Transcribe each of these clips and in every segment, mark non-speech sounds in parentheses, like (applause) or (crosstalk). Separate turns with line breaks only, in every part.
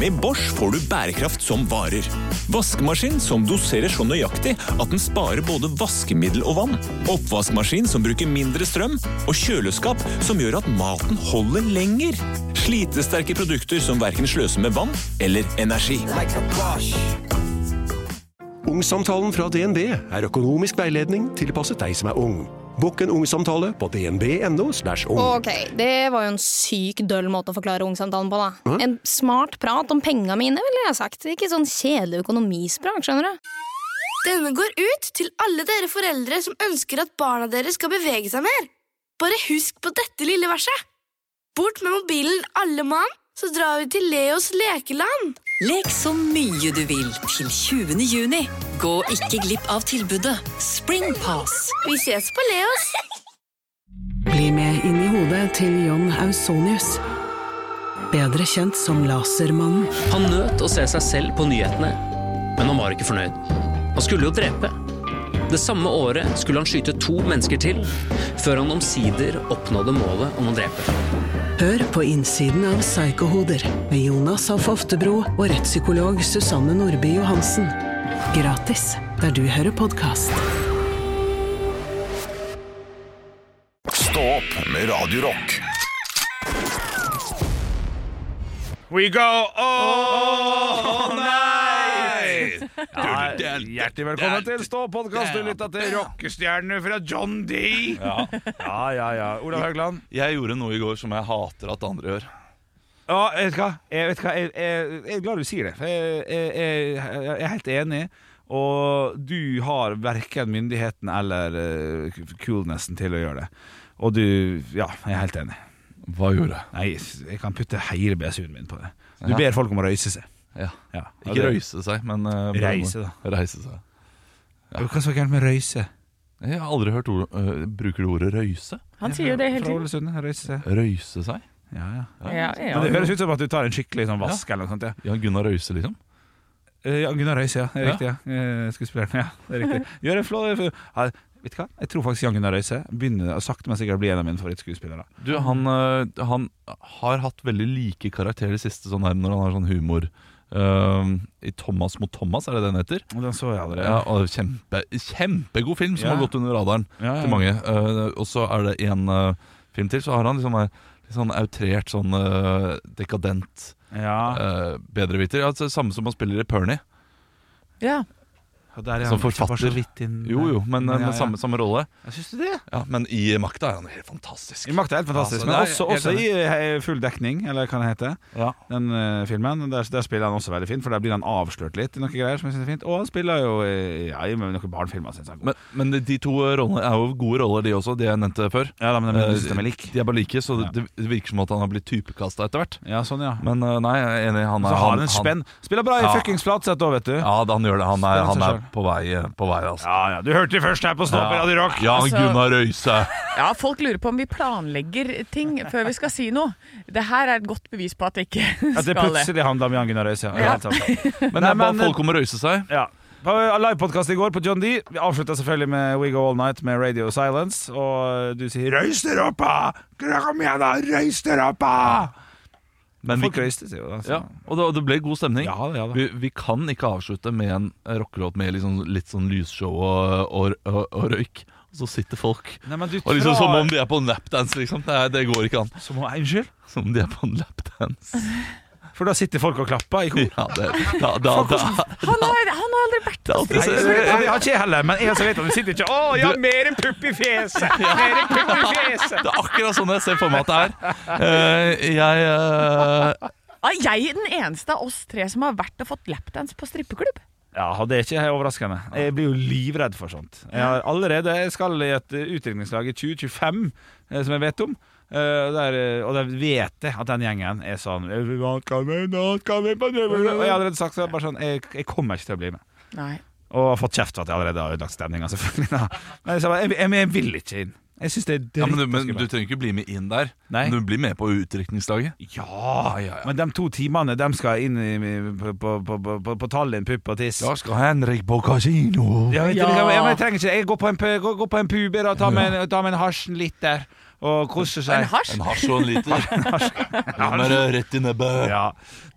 Med Bosch får du bærekraft som varer. Vaskemaskin som doserer så nøyaktig at den sparer både vaskemiddel og vann. Oppvaskmaskin som bruker mindre strøm. Og kjøleskap som gjør at maten holder lenger. Slitesterke produkter som verken sløser med vann eller energi.
Ungsamtalen fra DNB er økonomisk veiledning tilpasset deg som er ung. Bokk en ungsamtale på dnb.no. slash ung.
Ok, det var jo en syk døll måte å forklare ungsamtalen på, da. En smart prat om penga mine, ville jeg sagt. Ikke sånn kjedelig økonomisprat, skjønner du.
Denne går ut til alle dere foreldre som ønsker at barna deres skal bevege seg mer. Bare husk på dette lille verset. Bort med mobilen, alle mann, så drar vi til Leos lekeland.
Lek så mye du vil til 20. juni. Gå ikke glipp av tilbudet Springpass.
Vi ses på Leos.
Bli med inn i hodet til John Ausonius. Bedre kjent som Lasermannen.
Han nøt å se seg selv på nyhetene, men han var ikke fornøyd. Han skulle jo drepe. Det samme året skulle han skyte to mennesker til, før han omsider oppnådde målet om å drepe.
Hør på innsiden av Psykohoder med Jonas Alf Oftebro og rettspsykolog Susanne Nordby Johansen. Gratis der du hører podkast.
Stå opp med Radio Rock.
We go all night!
del, del,
hjertelig velkommen
del,
til Stå-podkast. Du lytta til rockestjernene fra John D. Ja, ja, ja. Olav Haugland.
Jeg gjorde noe i går som jeg hater at andre gjør.
Ja, jeg vet hva? Jeg, vet hva? Jeg, jeg, jeg er glad du sier det. for Jeg, jeg, jeg, jeg er helt enig. Og du har verken myndigheten eller eh, coolnessen til å gjøre det. Og du Ja, jeg er helt enig.
Hva gjorde jeg?
Nei, jeg kan putte hele BSU-en min på det. Du
Ja.
ber folk om å røyse seg.
Ja.
Ja.
Ikke røyse seg, men eh, bare-
Reise, da.
Reise seg.
Hva er så gærent med røyse?
Jeg har aldri hørt ord, eh, Bruker du ordet røyse?
Han sier jo det hele
Fra
tiden.
Ålesund. Røyse.
Røyse seg?
Ja, ja.
Ja, ja.
Men det høres ut som at du tar en skikkelig sånn vask eller noe sånt. Ja.
Ja, Gunnar Røyse, liksom?
Eh, Ja, Gunnar Røise, ja. Det er
Ja.
riktig. ja Eh, Skuespilleren. Ja, det
(laughs)
er riktig. Gjør en flå ja, Vet du hva? Jeg tror faktisk Jan Gunnar Røise begynner å sakte, men sikkert bli en av mine favorittskuespillere.
Du, han, eh, han har hatt veldig like karakterer det siste sånn her, når han har sånn humor. Eh, I 'Thomas mot Thomas', er det den heter?
Og Den så jeg allerede.
Ja, og kjempe, kjempegod film som
Ja.
har gått under radaren
Ja, ja.
til mange. Eh, og så er det en eh, film til, så har han liksom eh, litt sånn outrert, sånn eh, dekadent
Ja.
uh, bedreviter. Ja, altså, samme som han spiller i Pernie.
ja.
Og der er
Som
han ikke bare så
forfatter.
vidt inn-
Jo, jo, men, eh,
ja,
men
ja.
samme, samme rolle.
Ja, Syns du det?
Ja, men i Makta er han helt fantastisk.
I Makta er helt
Altså,
fantastisk.
det
men
er-
også,
jeg-
også i eh, Full dekning, eller hva det heter.
Ja.
Den eh, filmen, der, der spiller han også veldig fint, for der blir han avslørt litt i noen greier som jeg synes er fint. Og han spiller jo eh, ja, i noen barnefilmer, synes jeg. er god.
Men, men de- de to rollene er jo gode roller, de også, de jeg nevnte før.
ja, da, men
Eh,
jeg synes de er lik.
De er bare like, så
Ja.
det, det virker som at han har blitt typekasta etter hvert.
Ja, sånn, ja.
Men eh, nei, jeg er enig. Han er
så har han en spenn. Spiller bra
Ja.
i fuckings Flatseth òg, vet du. Ja.
Ja, da, han gjør det. Han er,
Spenn seg
han er
selv.
på vei, eh, på vei altså.
ja, Du hørte det først her på Stå på Radio Rock.
Jan
Altså-
Gunnar Røise.
ja, folk lurer på om vi planlegger ting før vi skal si noe. Det her er et godt bevis på at vi ikke
At det
skal det.
plutselig handla om Jan Gunnar Røise. Ja.
Ja.
helt sant. (laughs)
Men,
Nei,
jeg ba
men-
folk om å røyse seg.
Ja. På Livepodkast i går på John D. Vi avslutta selvfølgelig med We Go All Night med Radio Silence. Og du sier 'Røys dere opp, da! Kom igjen, da! Røys dere opp, da!'
Men vi,
Folk røyste seg jo, da. så-
ja, og det, det ble god stemning.
Ja, ja, da.
Vi, vi kan ikke avslutte med en rockelåt med liksom, litt sånn lysshow og, og, og, og røyk. Og så sitter folk
Nei, men du
og liksom
drar-
Som om de er på en lapdance, liksom. Det, er, det går ikke an.
Som om- Unnskyld?
Som om de er på en lapdance.
For da sitter folk og klapper i kor.
(laughs) Ja, det, da, da, da,
Han har, han har aldri vært
det er
Nei,
alltid
det har ikke jeg heller, men jeg også vet at de sitter ikke 'Å, ja, mer enn pupp i fjeset!' Mer enn pupp i fjeset!
Det er akkurat sånn jeg ser for meg at det er. Eh, jeg eh,
Er Ah, jeg den eneste av oss tre som har vært og fått lapdance på strippeklubb?
Ja, og det er ikke overraskende. Jeg blir jo livredd for sånt. Jeg har allerede jeg skal i et eh, utdrikningslag i 2025, eh, som jeg vet om. Eh, der, eh, og der vet jeg at den gjengen er sånn «Everyone come in, all come in på det», Og jeg har allerede sagt så jeg bare sånn jeg, jeg kommer ikke til å bli med.
Nei.
Og har fått kjeft for at jeg allerede har ødelagt stemninga, selvfølgelig. Da. Men jeg, sa bare, jeg, jeg, jeg vil ikke inn. Jeg syns det er
ja,
dritt.
men, du,
å
men
skulle
du trenger ikke bli med inn der.
Nei.
Du blir med på utdrikningslaget.
ja, ja, ja, men de to timene de skal inn i, på, på, på, på, på, på Tallinn, pupp og tiss.
skal Henrik på kasino.
Ja, vet du,
Ja.
liksom, ja, men jeg trenger ikke det. Jeg går på en, pu- går, går på en pube og tar med en, tar med en hasj litt der. og koser seg.
En hasj?
En hasj og en
(laughs)
liter. Den er eh, rett i nebbet.
Ja.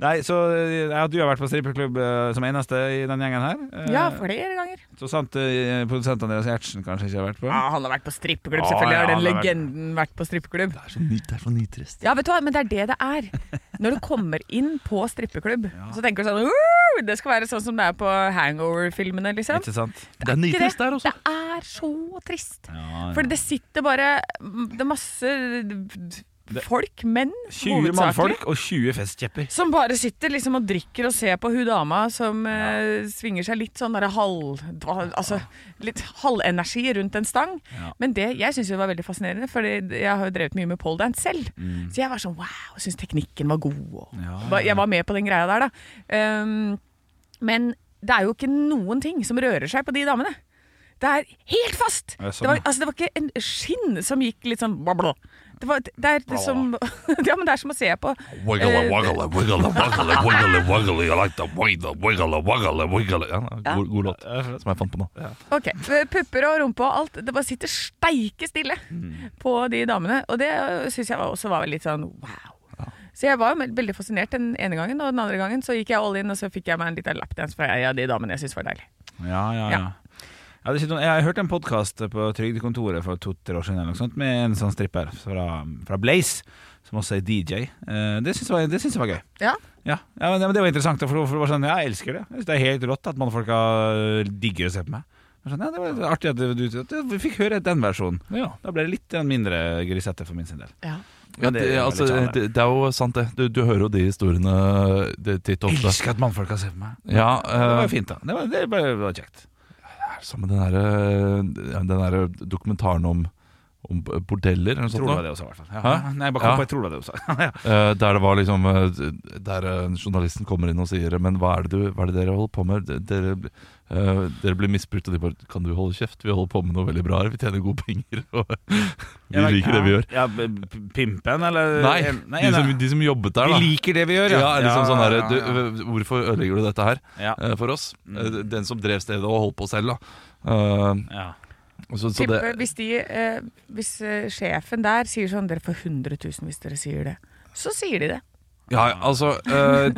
Nei, så eh, ja, du har vært på strippeklubb eh, som eneste i den gjengen her. Eh,
Ja, flere ganger.
Så sant eh, produsent Andreas Gjertsen kanskje ikke har vært på.
Ja, han har vært på strippeklubb,
Ja,
selvfølgelig
ja,
har den
han har vært-
legenden vært på strippeklubb.
Det er så ny- det er så nitrist.
Ja, vet du hva, men det er det det er. Når du kommer inn på strippeklubb, så tenker du sånn «Woo, Det skal være sånn som det er på hangover-filmene, liksom.
Ikke sant?
Det er
Ikke
nitrist der også.
Det er så trist. For det sitter bare Det er masse folk, menn,
20 mannfolk og 20 festkjepper.
Som bare sitter liksom og drikker og ser på hun dama som eh, svinger seg litt sånn derre halv... Altså litt halvenergi rundt en stang.
Ja.
Men det jeg syns det var veldig fascinerende, for jeg har jo drevet mye med poledance selv.
Mm.
Så jeg var sånn wow, jeg syns teknikken var god. Og, Ba- Jeg var med på den greia der, da. Um, men det er jo ikke noen ting som rører seg på de damene. Det er helt fast!
Ja,
det,
sånn,
var,
ja.
altså, det var ikke en skinn som gikk litt sånn blabla. Det, var, det, er som, (laughs) ja, men det er som å se på eh,
Wiggle, wiggle, wiggle, wiggle, wiggle, wiggle, I like the way the wiggle, wiggle, wiggle. Ja, det er god, god låt som jeg fant på nå.
Ok, Pupper og rumpe og alt. Det bare sitter steike stille på de damene. Og det syns jeg var- også var litt sånn wow. Så jeg var jo veldig fascinert den ene gangen, og den andre gangen så gikk jeg all in, og så fikk jeg meg en liten lapdance fra ei av de damene jeg syntes var deilig.
Ja, ja, ja.
Ja.
Ja, det er ikke noe- jeg har hørt en podkast på Trygdekontoret for to-tre år siden eller noe sånt, med en sånn stripper fra, fra Blaze, som også er DJ. Eh, Det syns jeg, var- det syns jeg var gøy.
Ja.
Ja, ja men det, men det var interessant. For, for det var sånn, ja, jeg elsker det. Jeg synes det er helt rått at mannfolka eh, digger å se på meg. Jeg var Sånn, ja, det var artig at du, at vi fikk høre den versjonen. Da ble det litt mindre grisete for min sin del.
Ja.
Ja,
Men
det,
det er
altså,
litt annerledes.
det, det er jo sant, det. Du, du hører jo de historiene eh, det, titt og ofte.
Elsker at mannfolka ser på meg.
Ja,
Det var
eh,
jo fint, da. Det var, det var, det var kjekt.
Sammen med den derre den der dokumentaren om, om bordeller eller noe
Tror
sånt.
du
da.
det også, i hvert fall. Ja.
Hæ?
Nei, jeg bare kom
Ja.
på, jeg tror det var det
(laughs)
også. ja.
Eh, der det var liksom eh, Der eh, journalisten kommer inn og sier Men hva er det, du, hva er det dere holder på med? D- Dere, eh, dere blir misbrukt, og de bare Kan du holde kjeft? Vi holder på med noe veldig bra her. Vi tjener gode penger. (laughs) Og vi
Ja,
liker det vi gjør.
Ja, b- p- Pimpen, eller
Nei,
nei,
de som,
nei.
de som jobbet der, da.
Vi liker det vi gjør,
ja, liksom sånn der,
ja,
du,
ja.
eh, Hvorfor ødelegger du dette her
Ja. Mm.
eh, for oss? Eh, Den som drev stedet og holdt på selv, da. Eh,
Ja.
så, så det,
Tipper hvis, de, eh, hvis eh, sjefen der sier sånn Dere får 100 000 hvis dere sier det. Så sier de det.
Ja, ja, altså eh,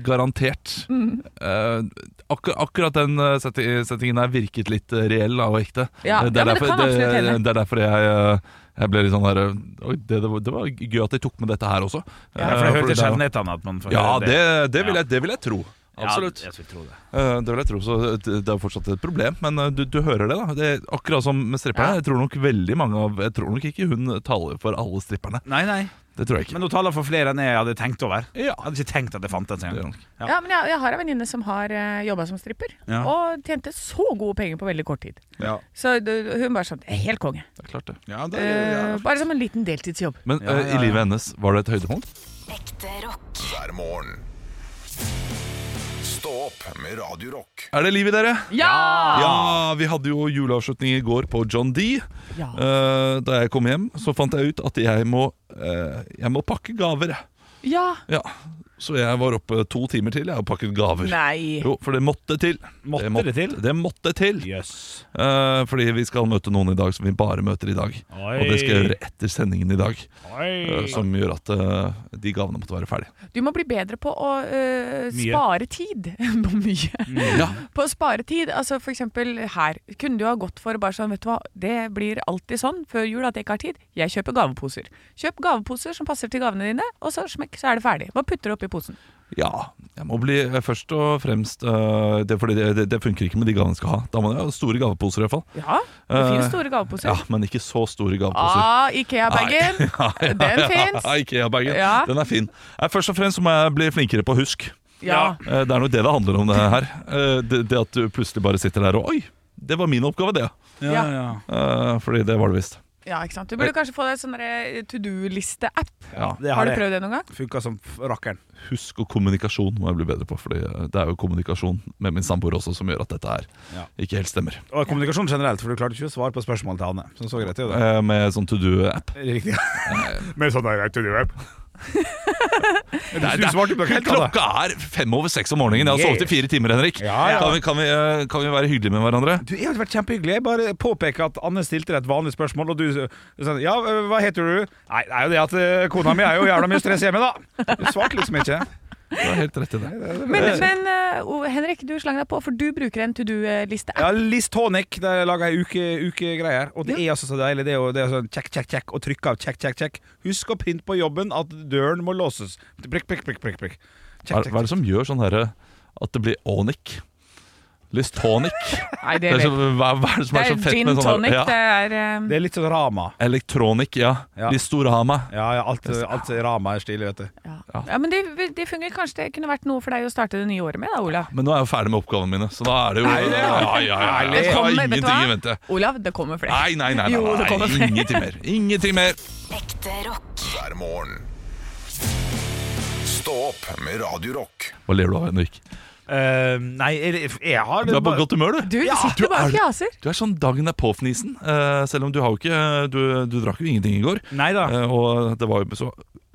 Garantert.
Mm.
Eh, akkur akkurat den eh, setti- settingen der virket litt eh, reell da, og ekte.
Ja, ja,
Eh,
men det kan
det,
absolutt hende.
det er derfor jeg, eh, jeg ble litt sånn der eh, Oi, det, det, var, det var gøy at de tok med dette her også.
Ja,
Eh,
for det hører til
er jo-
sjeldenhetene at man får
Ja,
høre
det, det, vil
Ja.
jeg, det vil jeg tro.
Ja,
Absolutt.
jeg skulle tro det.
Eh, det vil jeg tro, så det det er jo fortsatt et problem. Men eh, du, du hører det, da. Det, er akkurat som med stripperne. Jeg tror nok veldig mange av Jeg tror nok ikke hun taler for alle stripperne.
Nei, nei.
Det tror jeg ikke.
Men hun taler for flere enn jeg hadde tenkt over.
Ja.
Jeg hadde ikke tenkt at det fantes
Det er
engang.
nok-
Ja.
Ja, men jeg, jeg har en venninne som har uh, jobba som stripper,
Ja.
og tjente så gode penger på veldig kort tid.
Ja.
Så du, hun bare sånn Helt konge.
det er klart, det.
Ja, det,
Eh, bare som en liten deltidsjobb.
Men
Ja,
eh,
ja,
i
ja.
livet hennes, var det et høydepunkt?
Hver morgen. Stå opp med Radio Rock.
Er det liv i dere?
Ja!
Ja, vi hadde jo juleavslutning i går på John D.
Ja.
Eh, da jeg kom hjem, så fant jeg ut at jeg må, eh, jeg må pakke gaver. jeg.
Ja.
Ja. Så jeg var oppe to timer til jeg og pakket gaver.
Nei.
Jo, for det måtte til.
Måtte
må-
det til?
Det måtte til.
Jøss.
Eh, fordi vi skal møte noen i dag som vi bare møter i dag.
Oi.
Og det skal jeg gjøre etter sendingen i dag. eh,
Oi.
som gjør at eh, de gavene måtte være ferdige.
Du må bli bedre på å eh,
Mye.
spare tid. (laughs) på mye. På å spare tid. Altså for eksempel her. Kunne du ha gått for bare sånn, vet du hva, det blir alltid sånn før jul at jeg ikke har tid. Jeg kjøper gaveposer. Kjøp gaveposer som passer til gavene dine, og så smekk, så er det ferdig. Bare putter det oppi posen.
Ja, jeg må bli eh, først og fremst eh, det, Fordi det, det, det funker ikke med de gavene jeg skal ha. Da må jeg ha store gaveposer i hvert fall.
Ja, det
Eh,
finnes store gaveposer.
Ja, men ikke så store gaveposer.
Ah, Ikea-bagen. (laughs) Den fins.
Ja, Ikea-bagen.
Ja.
Den er fin. Nei, først og fremst så må jeg bli flinkere på husk.
Ja.
Eh, Det er nok det det handler om det her. Eh, Det, det at du plutselig bare sitter der og Oi, det var min oppgave, det.
Ja, ja.
Eh, Fordi det var det visst.
ja, ikke sant. Du burde kanskje få deg sånn derre to do-liste-app.
Ja.
Det
Har
har
du
det.
prøvd det noen gang?
Funka som f- rakkeren.
Husk og kommunikasjon må jeg bli bedre på, Fordi eh, det er jo kommunikasjon med min samboer også som gjør at dette her
Ja.
ikke helt stemmer.
Og kommunikasjon generelt, for du klarte ikke å svare på spørsmål til Anne. Så så greit er jo det. (laughs)
Eh, Med sånn to do-app. (laughs)
Riktig. Med sånn der, to do Du svarte på helt annet.
Klokka er fem over seks om morgenen. Jeg har sovet i fire timer, Henrik.
Ja, ja.
Kan, vi, kan, vi, eh, kan vi være hyggelige med hverandre?
Du jeg har vært kjempehyggelig. Jeg bare påpeker at Anne stilte deg et vanlig spørsmål, og du sa Ja, øh, hva heter du? Nei, det er jo det at øh, kona mi er jo jævla mye stress hjemme, da. Du svarte liksom ikke.
Du har helt rett i det.
Men, men eh, O- Henrik, du slang deg på, for du bruker en to do-liste-app.
Ja, Liz Tonic, der lager jeg uke, ukegreier. Og det er altså så deilig. Det er jo det er sånn check, check, check, og trykke av check, check, check. Husk å printe på jobben at døren må låses. Prikk, prikk, prikk, prikk. prikk.
Hva
Check,
er,
check,
hva er det som gjør sånn herre at det blir Onic?
(laughs)
Lystonic?
Nei,
Det
det
er
er
så, hva, hva er det som
Det
er så
er
fett
gin
med sånn
tonic.
her-
Det
ja.
er eh,
Det er litt sånn Rama.
Elektronikk, ja.
Ja.
Listorama.
Ja, ja alt, alt Rama er stilig, vet du.
ja. ja, men det, det fungerer kanskje. Det kunne vært noe for deg å starte det nye året med, da, Olav.
Men nå er jeg jo ferdig med oppgavene mine, så da er det jo
Nei, det er-
ja, ja, ja, ja.
Det
Jeg har
kommer, vet du
ingenting i
hva?
vente.
Olav, det kommer flere.
Nei, nei, nei. nei,
Jo, det
nei,
kommer flere.
Ingenting mer. Ingenting mer.
Ekte rock.
hver morgen. Stå opp med Radio Rock.
Hva ler du av, Henrik?
Eh, nei, jeg, jeg har
Du er på godt humør,
Du
du.
sitter bare og
er-
fjaser.
Du er sånn dagen er på-fnisen. eh, selv om du har jo ikke Du, du drakk jo ingenting i går.
Nei da.
Eh, og det var jo så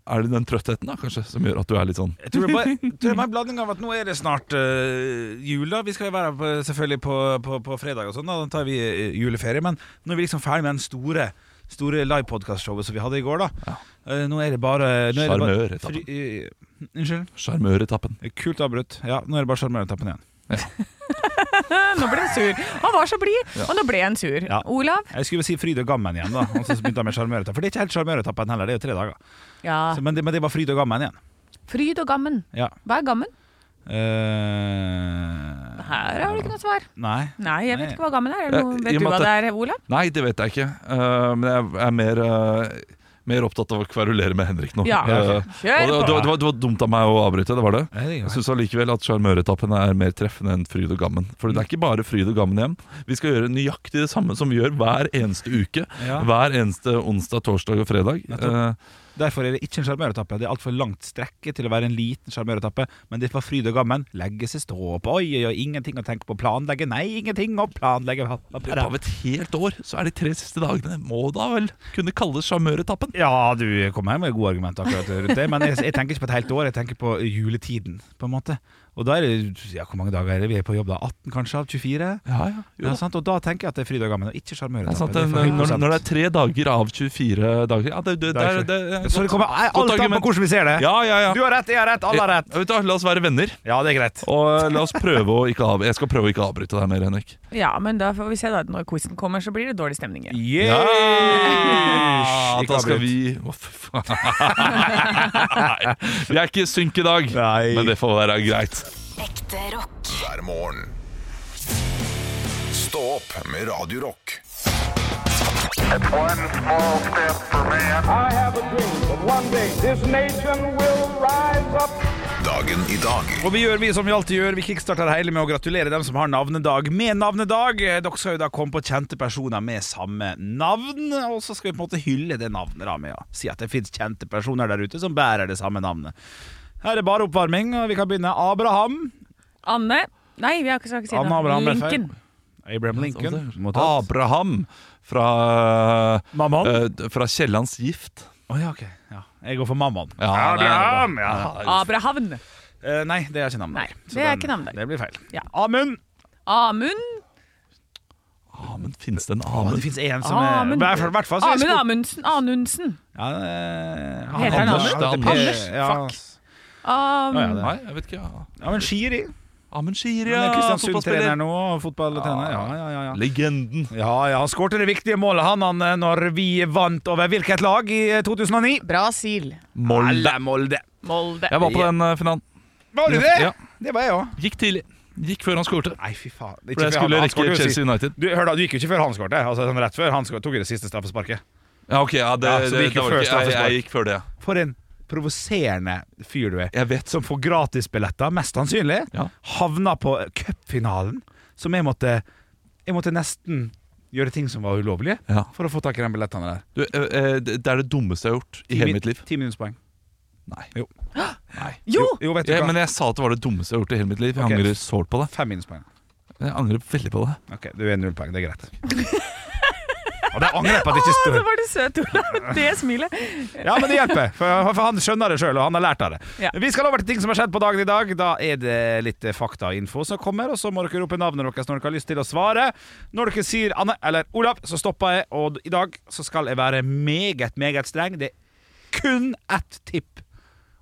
Er det den trøttheten, da, kanskje, som gjør at du er litt sånn
Jeg tror det bare
(laughs)
jeg tror det er bare en blanding av at nå er det snart eh, jul, da. Vi skal jo være på, selvfølgelig på, på, på fredag og sånn, da. da tar vi eh, juleferie. Men nå er vi liksom ferdig med den store Store livepodkastshowet som vi hadde i går. da Eh, Nå er det bare nå er det bare-
Sjarmøretappen.
fri- eh, Unnskyld?
sjarmøretappen?
Kult avbrutt. Ja, nå er det bare sjarmøretappen igjen.
Nå ble han sur. Han var så blid, og nå ble han sur.
Ja.
Olav?
Jeg skulle si Fryd og gammen igjen, da. altså. Og så begynte jeg med sjarmøretappen. For det er ikke helt sjarmøretappen heller, det er jo tre dager.
Ja.
Så, men, det, men det var Fryd og gammen igjen.
Fryd og gammen.
Ja.
Hva er gammen?
Eh,
Her har du ikke noe svar.
Nei.
Nei, jeg vet
Nei.
ikke hva gammen er. Er det noe-
Eh, i og
Vet du
med
hva
at
det er, Olav?
Nei, det vet jeg ikke. Eh, men jeg er mer eh, mer opptatt av å kverulere med Henrik nå.
Ja, Kjør
Eh, og det,
på!
det, var, det, var, det var dumt av meg å avbryte, det var det.
Nei, det er
Jeg
greit.
syns allikevel at sjarmøretappen er mer treffende enn fryd og gammen. For det er ikke bare fryd og gammen igjen. Vi skal gjøre nøyaktig det samme som vi gjør hver eneste uke.
Ja.
Hver eneste onsdag, torsdag og fredag.
Nettopp.
Eh,
Derfor er det ikke en sjarmøretappe. Det er altfor langt strekke til å være en liten sjarmøretappe. Men det var fryd og gammen. Legge seg stå på. Oi, oi, oi, ingenting å tenke på. Planlegge. Nei, ingenting å planlegge. Ha,
I
ha,
løpet av et helt år så er de tre siste dagene må da vel kunne kalles sjarmøretappen.
Ja, du kom her med gode argumenter akkurat rundt det. Men jeg, jeg tenker ikke på et helt år, jeg tenker på eh, juletiden, på en måte. Og da er det Ja, hvor mange dager er det vi er på jobb, da? 18, kanskje? 24?
Ja, ja, jo
Ja,
da.
sant? Og da tenker jeg at det er fryd og gammen, og ikke
Det er
sjarmøretappe.
sant, den, når, når det er tre dager av 24 dager Ja, det, det, det, er- det, er
Så det kommer
godt- godt
alt an på
argument.
hvordan vi ser det.
Ja, ja, ja.
Du har rett, jeg har rett, alle har rett.
Ja, Eh, Vet du, hva, La oss være venner,
Ja, det er greit.
og eh, la oss prøve å ikke av, jeg skal prøve å ikke avbryte deg mer, Henrik.
Ja, men da får vi se da når quizen kommer, så blir det dårlig stemning igjen.
Yeah!
Ja, da skal vi Å, fy faen. (laughs) Nei, Vi er ikke i synk i dag,
Nei.
men det får være greit.
Ekte rock.
hver morgen. Stå opp med Radio Rock.
I have a dream that one day this nation will rise up.
Dagen i dag
Og vi gjør vi som vi alltid gjør, vi kickstarter hele med å gratulere dem som har navnedag med navnedag. Eh, Dere skal jo da komme på kjente personer med samme navn, og så skal vi på en måte hylle det navnet da med å si at det finnes kjente personer der ute som bærer det samme navnet. Her er bare oppvarming, og vi kan begynne. Abraham.
Anne Nei, vi har ikke skal ikke si
Anne Abraham
det.
ble feil.
Lincoln.
Abraham Lincoln. Ab-
sånn, Abraham fra,
Mammon.
eh, fra Kiellands gift.
Å ja, ok. Ja. Jeg går for Mammon.
Ja, det er-
Abraham, ja.
Abrahavn.
Eh, nei, det er ikke navnet.
Nei,
Så
det er
den-
ikke navnet.
Det blir feil.
Ja.
Amund.
Amund.
Ah, men finnes det en
Å,
annen
det fins én som er
Amund.
I hvert fall- i hvert fall så er
Amund
Skop-
Amundsen. Anundsen.
Ja, eh,
Heter han
Anders?
Ja, det-
Anders?
Ja.
Am-
Ja, ja, det.
Nei, jeg vet ikke. ja.
ja, men Shiri.
Amund Shiri,
Han
ja.
er Kristiansund-trener
fotballspiller.
nå, og fotballtrener. Ja, ja, ja, ja.
Legenden.
Ja, ja, Han skårte det viktige målet han, han eh, når vi vant over hvilket lag i eh, 2009?
Brasil.
Molde.
Eller Molde.
Molde.
Jeg var på den eh, finalen.
Var du det?
Ja.
Det var jeg òg.
Gikk tidlig. Gikk før han skårte.
Nei, fy
For
faen. Det er ikke
jeg
før han-
skulle
han skårte
rekke
jo sist.
Chelsea United.
Du, hør da, du gikk jo ikke før han skårte. Altså, sånn rett før han skårte, tok jo det siste straffesparket.
Ja, ok, ja, det,
Ja,
det,
så du
det
gikk jo
var
før
ikke, jeg,
straffespark.
jeg gikk før det. ja.
For en provoserende fyr du er.
Jeg vet
Som får gratisbilletter, mest sannsynlig.
Ja.
Havna på cupfinalen, som jeg måtte Jeg måtte nesten gjøre ting som var ulovlige,
Ja.
for å få tak i de billettene der.
Du, eh, eh, det det er det dummeste jeg har gjort i hele mitt liv.
Ti minuttspoeng.
Nei.
Jo.
Nei.
Jo! vet du
Ja,
hva?
men jeg sa at det var det dummeste jeg har gjort i hele mitt liv. Jeg
Ok.
angrer sårt på det.
Fem minuspoeng.
Jeg angrer veldig på det.
Ok, du er null poeng. Det er greit. (laughs) Og det angrer jeg på at det ikke
Å,
står
det var det søte, Olav!
(laughs)
Det smilet.
Ja, men det hjelper, for, for han skjønner det sjøl, og han har lært av det.
Ja.
Vi skal over til ting som har skjedd på dagen i dag. Da er det litt fakta og info som kommer, og så må dere rope navnet deres når dere har lyst til å svare. Når dere sier Anne eller Olav, så stopper jeg, og i dag så skal jeg være meget, meget streng. Det er kun ett tipp.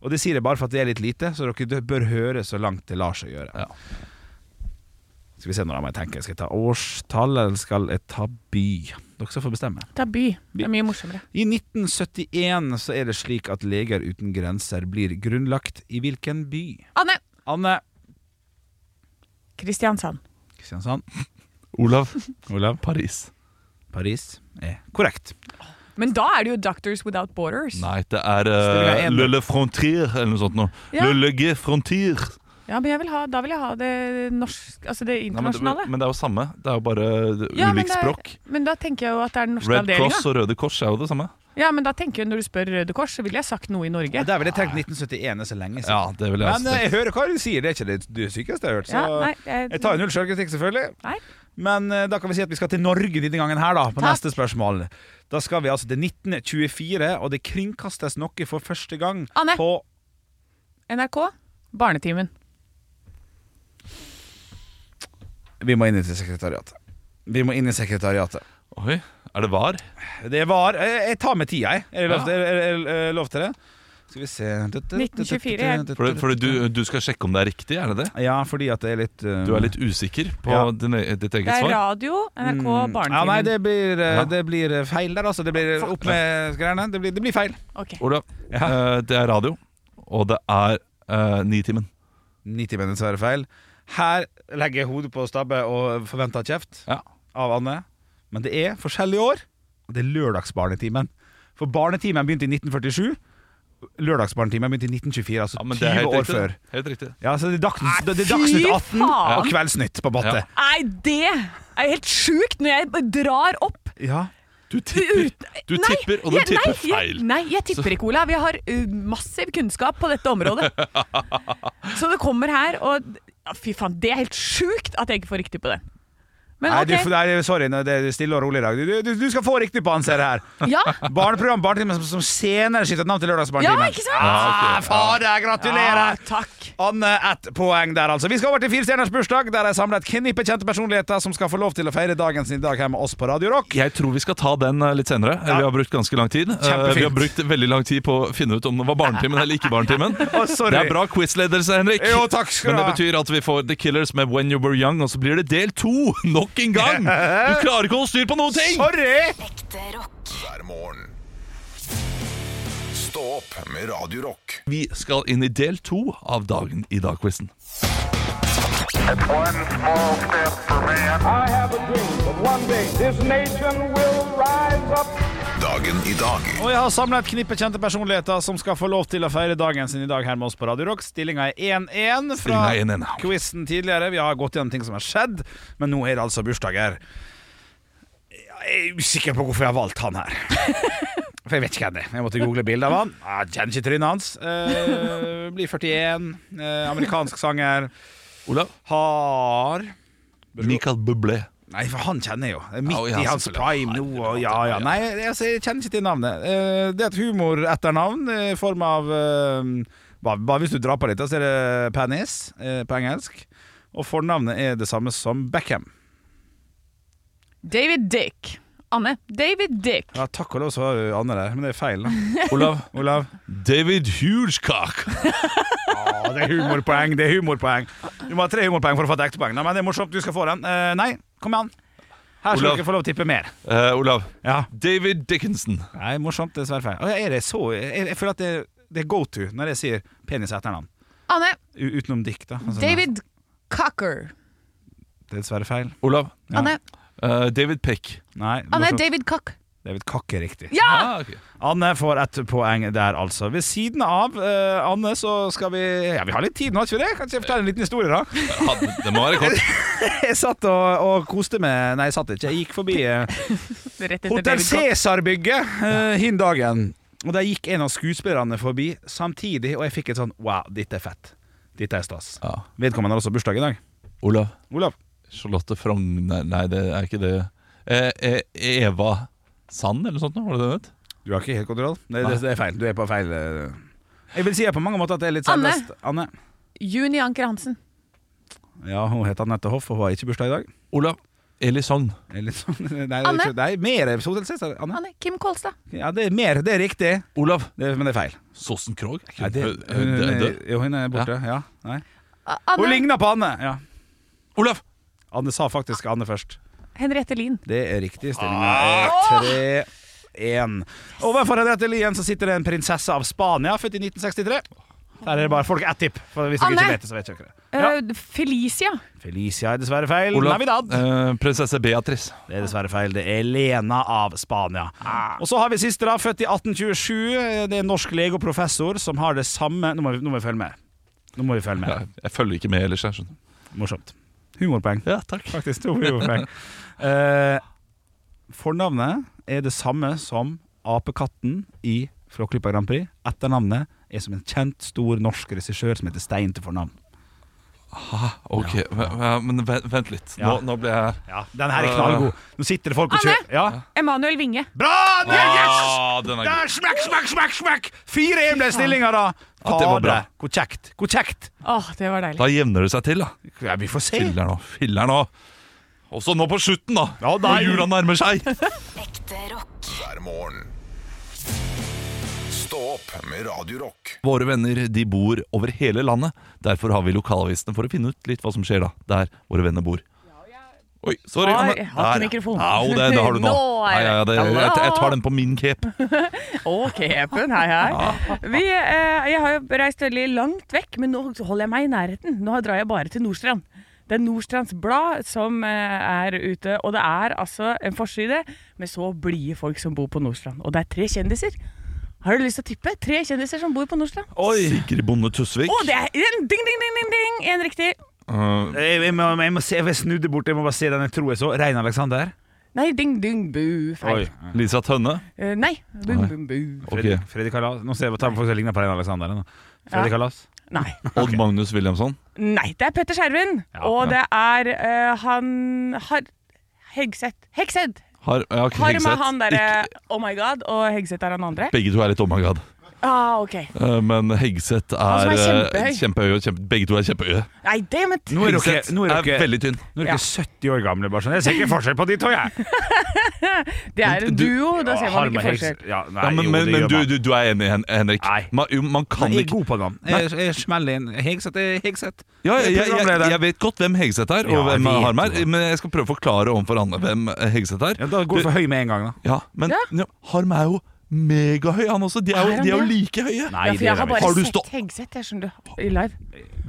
Og det sier jeg bare for at det er litt lite, så dere bør høre så langt det lar seg gjøre. Skal vi se når jeg må jeg tenke. Skal jeg ta årstall, eller skal jeg ta by? Dere skal få bestemme.
Ta by. Det er mye morsommere.
I 1971 så er det slik at Leger uten grenser blir grunnlagt i hvilken by?
Anne
Anne
Kristiansand.
Kristiansand.
Olav.
Olav.
Paris.
Paris er korrekt.
Men da er det jo Doctors Without Borders.
Nei, det er uh,
Stillinga er en.
Le Le Frontier eller noe sånt. Nå.
Ja.
Le Le G Frontier.
Ja, men jeg vil ha, da vil jeg ha det norsk, altså det
Nei, men, det,
internasjonale.
men det er jo samme. Det er jo bare
Ja, men
ulikt
det er-
språk.
Men da tenker jeg jo at det er den norske
Red
avdelinga.
Cross og Røde Kors er jo det samme.
Ja, men da tenker jeg når du spør Røde Kors, så ville jeg sagt noe i Norge.
Ja, der ville jeg tenkt 1971 er så lenge siden.
Ja, det vil jeg
Men
også
eh, jeg
tenke.
hører hva du sier, det er ikke det, det sykeste jeg har hørt. Så
Ja, nei, jeg-
jeg tar jo null sjølkritikk, selvfølgelig.
Nei.
Men eh, da kan vi si at vi skal til Norge denne gangen her, da, på
Takk.
neste spørsmål. Da skal vi altså til 1924, og det kringkastes noe for første gang
Anne.
på
NRK, Barnetimen.
Vi må inn i sekretariatet. Vi må inn i sekretariatet.
Oi, er det var?
Det var Jeg, jeg tar med tida, jeg. Er det lov,
Ja.
er, er, er, lov til det? Skal vi se
1924, jeg.
Fordi, fordi du, du skal sjekke om det er riktig, er det det?
Ja, fordi at det er litt uh,
Du er litt usikker på
Ja.
din, e- ditt
Det
eget
er
svar?
radio, NRK,
Mm.
Barnetimen.
Ja, nei, det blir, eh,
Ja.
det blir eh, feil der, altså. Det blir opp med greiene. Det blir, det blir feil.
Ok.
Olav, eh, det er radio, og det er uh, Nitimen.
90 menn, dessverre feil. Her legger jeg hodet på stabbe og forventer kjeft
Ja.
av Anne. Men det er forskjellige år, og det er lørdagsbarnetimen. For barnetimen begynte i 1947. Lørdagsbarnetimen begynte i 1924, altså
Ja, men det er
20
helt
år
riktig, det.
før.
Helt riktig.
Ja, så det er Dagsnytt, det er dagsnytt 18
faen!
og Kveldsnytt på Batte.
Nei, det er helt sjukt når jeg drar opp
Ja.
Du tipper, du
Nei,
tipper og du
jeg- nei,
tipper feil.
Jeg, nei, jeg tipper ikke, Olav. Jeg har uh, massiv kunnskap på dette området.
(laughs)
Så det kommer her, og ja, fy faen, det er helt sjukt at jeg ikke får riktig på det. Men
Nei,
ok,
du, får- nei, sorry, nå, det er stille og rolig i dag. Du, du, du skal få riktig på han, ser jeg her.
(laughs)
ja,
Barneprogram Barnetimen som, som senere skiftet navn til
ja,
Lørdagsbarnetimen.
ikke sant?
Ah, fader, gratulerer!
Ja, Ah, takk.
Anne ett poeng der, altså. Vi skal over til Firestjerners bursdag, der jeg samlet et knippe kjente personligheter som skal få lov til å feire dagen sin i dag her med oss på Radio Rock.
Jeg tror vi skal ta den eh, litt senere. Eh, Vi har brukt ganske lang tid. Eh,
Kjempefint.
Vi har brukt veldig lang tid på å finne ut om det var barnetimen eller ikke.
(laughs)
barnetimen
sorry.
Det er bra quizledelse, Henrik.
Jo, takk skal
Men
du
det
ha.
betyr at vi får The Killers med When You Were Young, og så blir det del to nok en
(laughs)
gang! Du klarer ikke å holde styr på noen ting!
Sorry!
hver morgen. Stå opp med Radio Rock.
Vi skal inn i del to av Dagen i dag-quizen.
It's one small step for man. I have a dream that one day this nation will rise up.
Dagen i dag
Og jeg har samlet et knippe kjente personligheter som skal få lov til å feire dagen sin i dag her med oss på Radio Rock. Stillinga er 1-1 fra
Stillingen er 1-1.
quizen tidligere. Vi har gått gjennom ting som har skjedd, men nå er det altså bursdager. Jeg er usikker på hvorfor jeg har valgt han
(laughs)
her. For jeg vet ikke hvem det er. Jeg måtte google bilde av han. Ah, Jeg kjenner ikke trynet hans. Eh, blir 41. eh, amerikansk sanger.
Olav?
Har
Michael Bublé.
Nei, for han kjenner jeg jo. Det er Midt
Ja, ja,
i hans
selvfølgelig.
prime nå. Og ja, ja. Nei, jeg- altså, jeg kjenner ikke til navnet. Eh, Det er et humoretternavn eh, i form av eh, bare, bare hvis du drar på litt, da, så er det Panis eh, på engelsk. Og fornavnet er det samme som Beckham.
David Dick. Anne, David Dick.
Ja, Takk og lov, så var jo Anne der. Men det er
(laughs)
feil, da.
Olav?
Olav?
David Hugecock.
(laughs) Ja, det er humorpoeng. Det er humorpoeng. Du må ha tre humorpoeng for å få et ekte poeng. Nei, men det er morsomt. Du skal få den. Eh, Nei, kom igjen. Her skal
Olav.
dere få lov å tippe mer.
Eh, Olav.
Ja.
David Dickinson.
Nei, morsomt, dessverre feil. Og jeg er det så, jeg, jeg føler at det, det er go to når jeg sier penis i etternavn.
Anne,
U utenom dikt, da. Altså,
David Cocker.
Det er dessverre feil.
Olav.
Ja.
Anne,
Eh, David Peck.
Nei,
Anne
morsomt.
David Cock.
David Kakk er riktig.
Ja!
Ah, ok.
Anne får ett poeng der, altså. Ved siden av eh, Anne, så skal vi Ja, vi har litt tid nå, har ikke vi det? Kanskje jeg forteller en liten historie, da?
Ja, det det må være kort.
(laughs) Jeg satt og, og koste meg Nei, jeg satt ikke. Jeg gikk forbi eh,
Rett etter
Hotell
David Cock.
Cæsar-bygget uh, hin dagen. Og der gikk en av skuespillerne forbi samtidig, og jeg fikk et sånn Wow, dette er fett. Dette er stas.
Ja.
Vedkommende har også bursdag i dag.
Olav.
Olav.
Charlotte Frogner Nei, det er ikke det. Eh, eh, Eva Sand eller noe sånt? nå, Var det det det het?
Du har ikke helt kontroll. Det, det, det er feil. Du er på feil eh. Jeg vil si jeg på mange måter at det er litt
Anne.
sannest. Anne.
Juni Anker Hansen.
Ja, hun heter Anette Hoff, og hun har ikke bursdag i dag.
Olav. Elisson.
Elisson. Nei, det er
Anne.
ikke- Nei, sånn, eh, mer solselskap. Anne.
Anne Kim Kolstad.
Ja, det er mer. Det er riktig.
Olav.
Det, men det er feil.
Sossen Krog?
Nei, det,
Hun-
hun,
hun er død.
jo, hun er borte. Ja. Nei.
A-
Hun
Anne
ligner på Anne. Ja.
Olav!
Anne sa faktisk Anne først.
Henriette Lien.
Det er riktig. Stillinga er 3-1. Overfor Henriette Lien så sitter det en prinsesse av Spania, født i 1963. Der er det bare folk ett tipp. For hvis dere
Anne.
ikke vet det, så vet dere det. Ja.
Eh, Felicia.
Felicia er dessverre feil.
Olav.
Navidad.
Eh, prinsesse Beatrice.
Det er dessverre feil. Det er Lena av Spania.
Ah.
Og så har vi siste, da, født i 1827. Det er en norsk lege og professor som har det samme Nå må vi, nå må vi følge med. Nå må vi følge med.
Ja, jeg følger ikke med ellers. jeg skjønner
Morsomt. Humorpoeng.
Ja, takk
Faktisk to
(laughs)
humorpoeng. Eh, fornavnet er det samme som apekatten i Flåklypa Grand Prix. Etternavnet er som en kjent, stor norsk regissør som heter Stein til fornavn.
Ok, men- ja, Men vent, vent litt.
Ja.
Nå, nå ble jeg Eh,
Ja, Den her er knallgod. Nå sitter det folk og
Anne!
kjører. Ja.
Emanuel Winge.
Bra! Yes!
Ah, den er god.
Der, smekk, smekk, smekk! smekk 4-1 ble stillinga, da.
Ja, det var bra.
Fader, Hvor kjekt. Hvor kjekt.
Åh, det var deilig.
Da jevner det seg til, da.
Ja, vi får se.
Filler nå. Filler nå. Også nå på slutten, da.
Ja,
Når
nei.
jula nærmer seg.
hver morgen. Stå opp med Radio Rock.
Våre venner de bor over hele landet. Derfor har vi lokalavisene for å finne ut litt hva som skjer da, der våre venner bor. Oi, sorry.
Har-
Anne.
jeg har ikke
Der, ja.
mikrofon.
Au, det, det har du
(laughs)
nå.
Nå er
Nei, ja, ja, det, jeg, jeg tar den på min cape.
Ok, Epen, hei hei. Vi, eh, jeg har jo reist veldig langt vekk, men nå holder jeg meg i nærheten. Nå drar jeg bare til Nordstrand. Det er Nordstrands Blad som eh, er ute, og det er altså en forside med så blide folk som bor på Nordstrand. Og det er tre kjendiser. Har du lyst til å tippe? Tre kjendiser som bor på Nordstrand. Å,
Sigrid Bonde Tusvik.
det er en ding, ding, ding, ding, ding! En riktig.
Eh,
Jeg, jeg, må, jeg må se, jeg snudde bort, jeg må bare se den jeg tror jeg så. Rein Alexander.
Nei, ding, ding, bu. Feil.
Lisa Tønne.
Eh, nei. Bum, bum, bu.
Ok.
Fredrik, Fredrik Kalas. Nå ser jeg tar folk som ligner på Rein Alexander. Nå. Fredrik
Ja.
Kalas.
Nei.
Odd Magnus Williamson.
Nei, det er Petter Skjerven. og det er eh, han har Hegseth. Hegseth!
Har, ja, ok,
Har med
Hegseth.
han derre
Ikke-
Oh my god, og Hegseth er han andre.
Begge to er litt oh my god.
Ah, ok.
Eh, Men Hegseth er,
som er
eh,
kjempehøy.
kjempehøy. og Kjempe, begge to er kjempehøye.
Nei, damn it!
Nå er dere,
Hegseth
nå er
er
dere,
veldig tynn.
nå er
Ja.
dere 70 år gamle. Bare sånn. Jeg ser ikke forskjell på de to, jeg.
Det er en
du-
duo, da ser man
Harm
ikke
og Hegs-
forskjell.
Ja, nei,
Ja, men
jo,
men,
det
men
gjør
du,
man.
du, du er enig, Hen- Henrik.
Nei.
Man, jo, man kan
jeg er
ikke
god på navn. Jeg, jeg smeller inn Hegseth er Hegseth.
Ja, jeg,
Jeg er
jeg, jeg,
programleder.
jeg vet godt hvem Hegseth er, og
Ja, jeg
hvem
vet
Harm
jo det.
er, men jeg skal prøve å forklare overfor Anne hvem eh, Hegseth er.
Ja, da går du for høy med en gang, da.
Ja, men
Ja.
ja, Harm er jo megahøy, han også. De er
Er
jo,
han
de er jo
det?
like høye.
Nei,
Ja, for jeg har
det
bare
Har du
sett
stå-
Hegseth, jeg skjønner du, i live.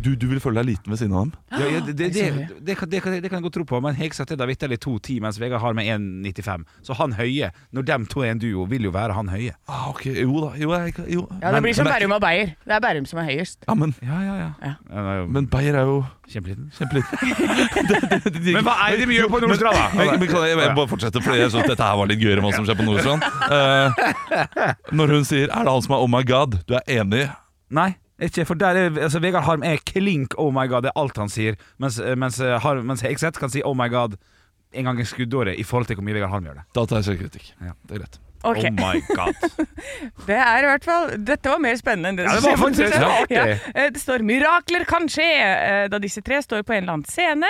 Du, du vil føle deg liten ved siden av dem.
Ja, ja, det, det,
Jeg
det,
ser
det, kan, det, kan, det kan jeg godt tro på, men Hegseth er da vitterlig 2,10, mens Vegard har med 1,95. Så han høye, når dem to er en duo, vil jo være han høye.
Ah, ok, Jo da. Jo, jeg, kan- jo.
Ja, det blir som
men,
Bærum og Beyer. Det er Bærum som er høyest.
ja, men,
Ja, ja, ja.
Ja.
Han er jo
men Beyer er jo
Kjempeliten.
(laughs) kjempeliten.
Men hva er det vi gjør på Nordstrand, da?
Men, men kan jeg, jeg bare fortsette, for jeg synes dette her var litt gøyere enn hva som skjer på Nordstrand. Eh, når hun sier 'er det han som er oh my god', du er enig?
Nei, ikke, for der er, altså, Vegard Harm er klink oh my god, det er alt han sier. Mens, eh, mens, Harm, mens Hegseth kan si oh my god en gang i skuddåret i forhold til hvor mye Vegard Harm gjør det.
Da tar jeg selvkritikk.
Ja.
Det er greit.
Ok,
Oh my god.
det er i hvert fall Dette var mer spennende enn det
Ja, det
som
var
skjer på
faktisk- det var
Nordstrand.
artig.
Eh, Det står 'Mirakler kan skje' eh, da disse tre står på en eller annen scene.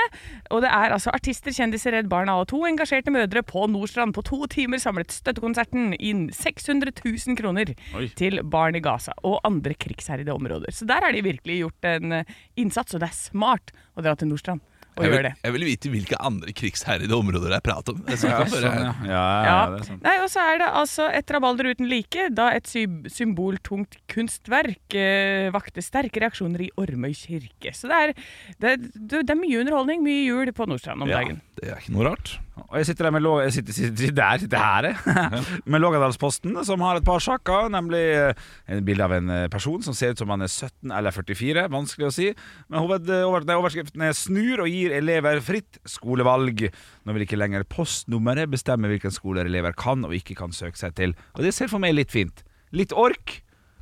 Og det er altså artister, kjendiser, Redd Barna og to engasjerte mødre på Nordstrand. På to timer samlet støttekonserten inn 600 000 kroner til barn i Gaza og andre krigsherjede områder. Så der har de virkelig gjort en eh, innsats, og det er smart å dra til Nordstrand og
Jeg
gjøre
vil,
det.
jeg vil vite hvilke andre krigsherjede områder det er prat om. Jeg
Ja,
snakker
sånn,
bare-
ja. Ja, ja,
Ja.
det er sant.
Nei, og så er det altså et rabalder uten like, da et sy symboltungt kunstverk eh, vakte sterke reaksjoner i Ormøy kirke. Så det er, det, er, du, det er mye underholdning, mye jul på Nordstrand om
Ja,
dagen.
det er ikke noe rart.
Og jeg sitter der med lå- jeg sitter, sitter, sitter der, sitter her, jeg. (laughs) med Lågadalsposten, som har et par saker, nemlig eh, en bilde av en eh, person som ser ut som han er 17 eller 44, vanskelig å si. Men hoved, over, nei, overskriften er 'Snur og gir elever fritt skolevalg'. Nå vil ikke lenger postnummeret bestemme hvilken skoler elever kan og ikke kan søke seg til. Og det ser for meg litt fint. Litt ork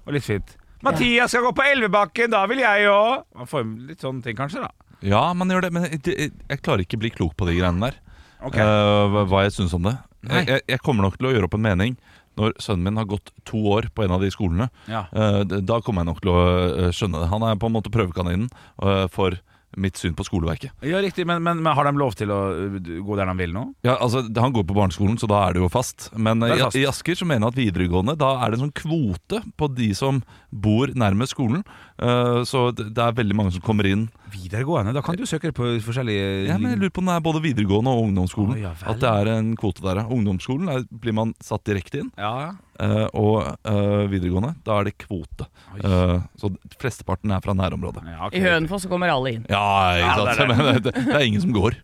og litt fint. Mathias skal gå på Elvebakken, da vil jeg òg! Man får jo litt sånne ting, kanskje, da.
Ja, man gjør det, men det, jeg klarer ikke å bli klok på de greiene der.
Ok.
Eh, hva- hva jeg syns om det.
Jeg, jeg, jeg kommer nok til å gjøre opp en mening når sønnen min har gått to år på en av de skolene.
Ja.
Eh, d- Da kommer jeg nok til å eh, skjønne det. Han er på en måte prøvekaninen eh, for mitt syn på skoleverket.
Ja, riktig, men, men, men har de lov til å ø, gå der de vil nå?
Ja, altså, d- Han går på barneskolen, så da er det jo fast. Men
Det
eh,
er
i-
fast.
i Asker så mener jeg at videregående Da er det en sånn kvote på de som bor nærmest skolen. Eh, Så d- det er veldig mange som kommer inn.
Videregående? Da kan du søke på forskjellige
Ja, men jeg lurer på om det er både videregående og ungdomsskolen.
Å, ja vel.
at det er en kvote der. ja. Ungdomsskolen er, blir man satt direkte inn.
Ja.
Eh, og eh, videregående, da er det kvote. Eh, så d- flesteparten er fra nærområdet. Ja,
I Hønefoss så kommer alle inn.
ikke
Ja, det
sant?
er det.
(laughs) Men det, det er ingen som går.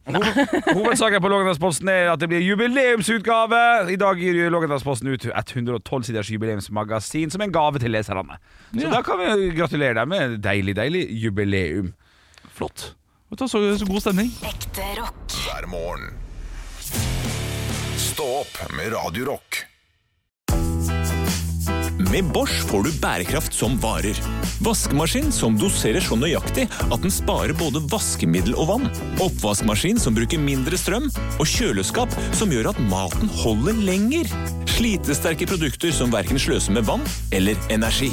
Hovedsaken på Lågendalsposten er at det blir jubileumsutgave. I dag gir jo Lågendalsposten ut 112 siders jubileumsmagasin som en gave til leserne. Så da kan vi gratulere deg med deilig, deilig jubileum.
Flott. Vet du, så, så god stemning.
Ekte rock. Hver morgen. Stå opp med Radio Rock.
Med Bosch får du bærekraft som varer. Vaskemaskin som doserer så nøyaktig at den sparer både vaskemiddel og vann. Oppvaskmaskin som bruker mindre strøm. Og kjøleskap som gjør at maten holder lenger. Slitesterke produkter som verken sløser med vann eller energi.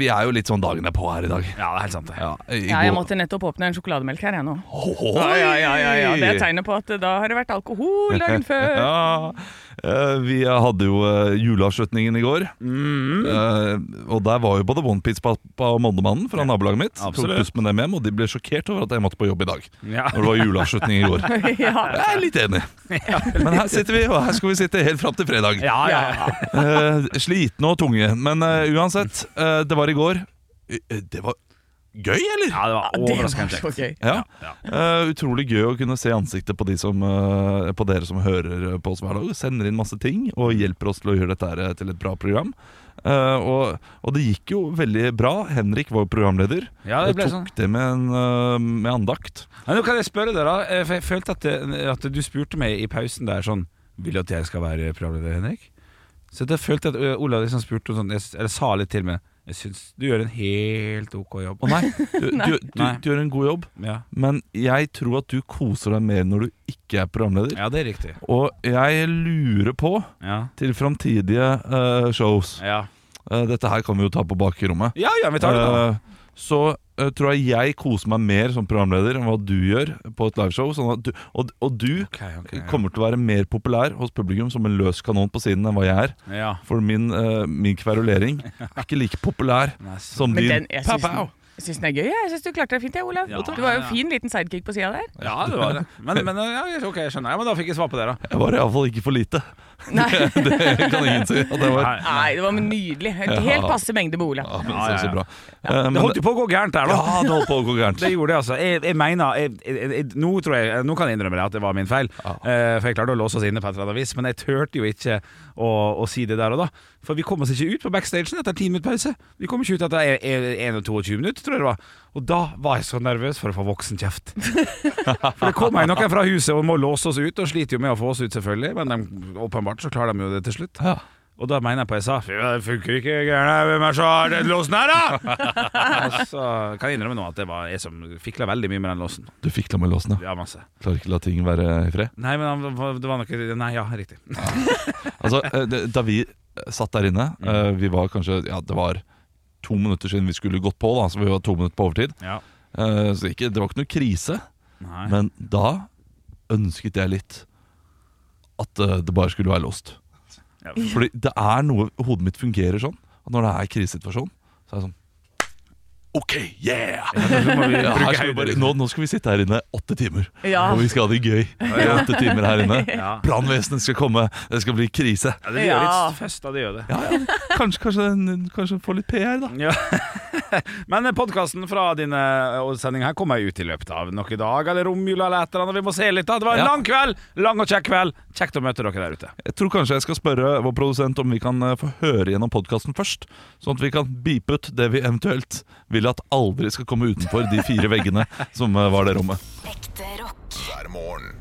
Vi er jo litt sånn dagen er på her i dag.
Ja, det er helt sant.
Ja, i
Ja, jeg
går-
måtte nettopp åpne en sjokolademelk her, jeg nå.
Ohoi!
Ja, ja, ja, ja, ja. Det er tegnet på at da har det vært alkohol
(laughs)
dagen før.
ja. Eh, Vi hadde jo eh, juleavslutningen i går.
Mm.
Eh, og der var jo både Onepiece-pappa og Moldemannen fra nabolaget mitt.
absolutt.
Tok buss med dem hjem, og de ble sjokkert over at jeg måtte på jobb i dag.
Ja.
Når det var juleavslutning
(laughs)
i går.
ja.
Jeg er litt enig. Men her sitter vi, og her skal vi sitte helt fram til fredag.
Ja, ja,
Eh, slitne og tunge. Men eh, uansett, eh, det var i går. Eh, Det var gøy, eller?
Ja, det var
det var overraskende så kjekt. gøy.
Ja. Eh, utrolig gøy å kunne se ansiktet på, de som, eh, på dere som hører på oss hver dag. Sender inn masse ting og hjelper oss til å gjøre dette her, eh, til et bra program. Eh, og, og det gikk jo veldig bra. Henrik var jo programleder.
Ja, det ble sånn.
og tok det med, en, eh, med andakt.
Ja, nå kan jeg spørre deg da, eh, for jeg følte at, eh, at du spurte meg i pausen der sånn Vil du at jeg skal være programleder, Henrik? Så jeg følte at
eh,
ø, Olav liksom spurte sånn, jeg, s- eller sa litt til meg Jeg syns du gjør en helt ok jobb.
Å nei, du, du, du, du gjør en god jobb,
Ja.
men jeg tror at du koser deg mer når du ikke er programleder.
Ja, det er riktig.
Og jeg lurer på,
Ja.
til framtidige eh, shows Eh, Dette her kan vi jo ta på bakrommet.
Ja, ja, vi tar det da.
Eh, så eh, tror jeg jeg koser meg mer som programleder enn hva du gjør på et liveshow. Sånn at du, og, og du kommer til å være mer populær hos publikum som en løs kanon på siden enn hva jeg er.
Ja.
For min, eh, min
(laughs)
kverulering er ikke like populær som
Men
din
den, jeg syns
pow-pow.
den, jeg syns den er gøy. jeg. Jeg syns du klarte deg fint, jeg, Olav.
Ja,
du var jo
ja.
en fin liten sidekick på sida der.
Ja, det var det. Men, men eh, ja, ok, jeg skjønner. Ja, men da fikk jeg svar på det, da.
Jeg var iallfall ikke for lite.
Nei.
(laughs) det kan ingen si. at jeg var.
Nei, det var nydelig. En
Ja.
helt passe mengde med Olav.
men så, så bra. Eh, men-
Det holdt jo på å gå gærent der, da.
Ja, det holdt på å gå gærent.
Det gjorde det, altså. Jeg, jeg mener jeg, jeg, jeg, nå, tror jeg, nå kan jeg innrømme det at det var min feil. Eh, for jeg klarte å låse oss inne på et eller annet vis, men jeg turte jo ikke å, å si det der og da. For vi kom oss ikke ut på backstagen etter ti minutter pause. Vi kom ikke ut etter en- en- en og 22 minutter, tror jeg det var. Og da var jeg så nervøs for å få
(laughs)
voksenkjeft. For det kommer jo noen fra huset og må låse oss ut, og sliter jo med å få oss ut, selvfølgelig. Men de, åpenbart så klarer de jo det til slutt. Og da mener jeg på jeg sa Fy, det funker ikke, gærne. Hvem er så har den låsen her, da? og så kan jeg innrømme nå at det var jeg som fikla veldig mye med den låsen.
(laughs) Du fikk la med låsen,
Ja, masse.
Klarer ikke å la ting være i fred.
Nei, men han var- det var noe Nei, ja, riktig.
Altså, eh, det- da vi satt der inne
Mm.
eh, Vi var kanskje, ja det var To minutter siden vi skulle gått på da Så vi var to minutter på overtid
Ja.
Eh, Så ikke, det var ikke noe krise
Nei.
Men da ønsket jeg litt At eh, det bare skulle være låst
Ja.
Fordi det er noe Hodet mitt fungerer sånn At når det er krisesituasjon Så er det sånn OK, yeah!
så må vi
(laughs) Ja,
bruke
her skal vi bare,
hodet,
nå, nå skal vi sitte her inne åtte timer,
Ja.
og vi skal ha det gøy i
Ja.
åtte timer her inne.
Ja.
Brannvesenet skal komme, det skal bli krise.
Ja, det blir jo litt fest av det, gjør det.
Kanskje, kanskje, kanskje få litt PR, da.
(laughs) Men podkasten fra din sending her kommer jo ut i løpet av noen dager eller romjula eller et eller annet. Vi må se litt, da. Det var en
Ja.
lang kveld! Lang og kjekk kveld. Kjekt å møte dere der ute.
Jeg tror kanskje jeg skal spørre vår produsent om vi kan eh, få høre gjennom podkasten først. Sånn at vi kan beepe ut det vi eventuelt vil at aldri skal komme utenfor de fire veggene som eh, var det rommet.
Hver morgen.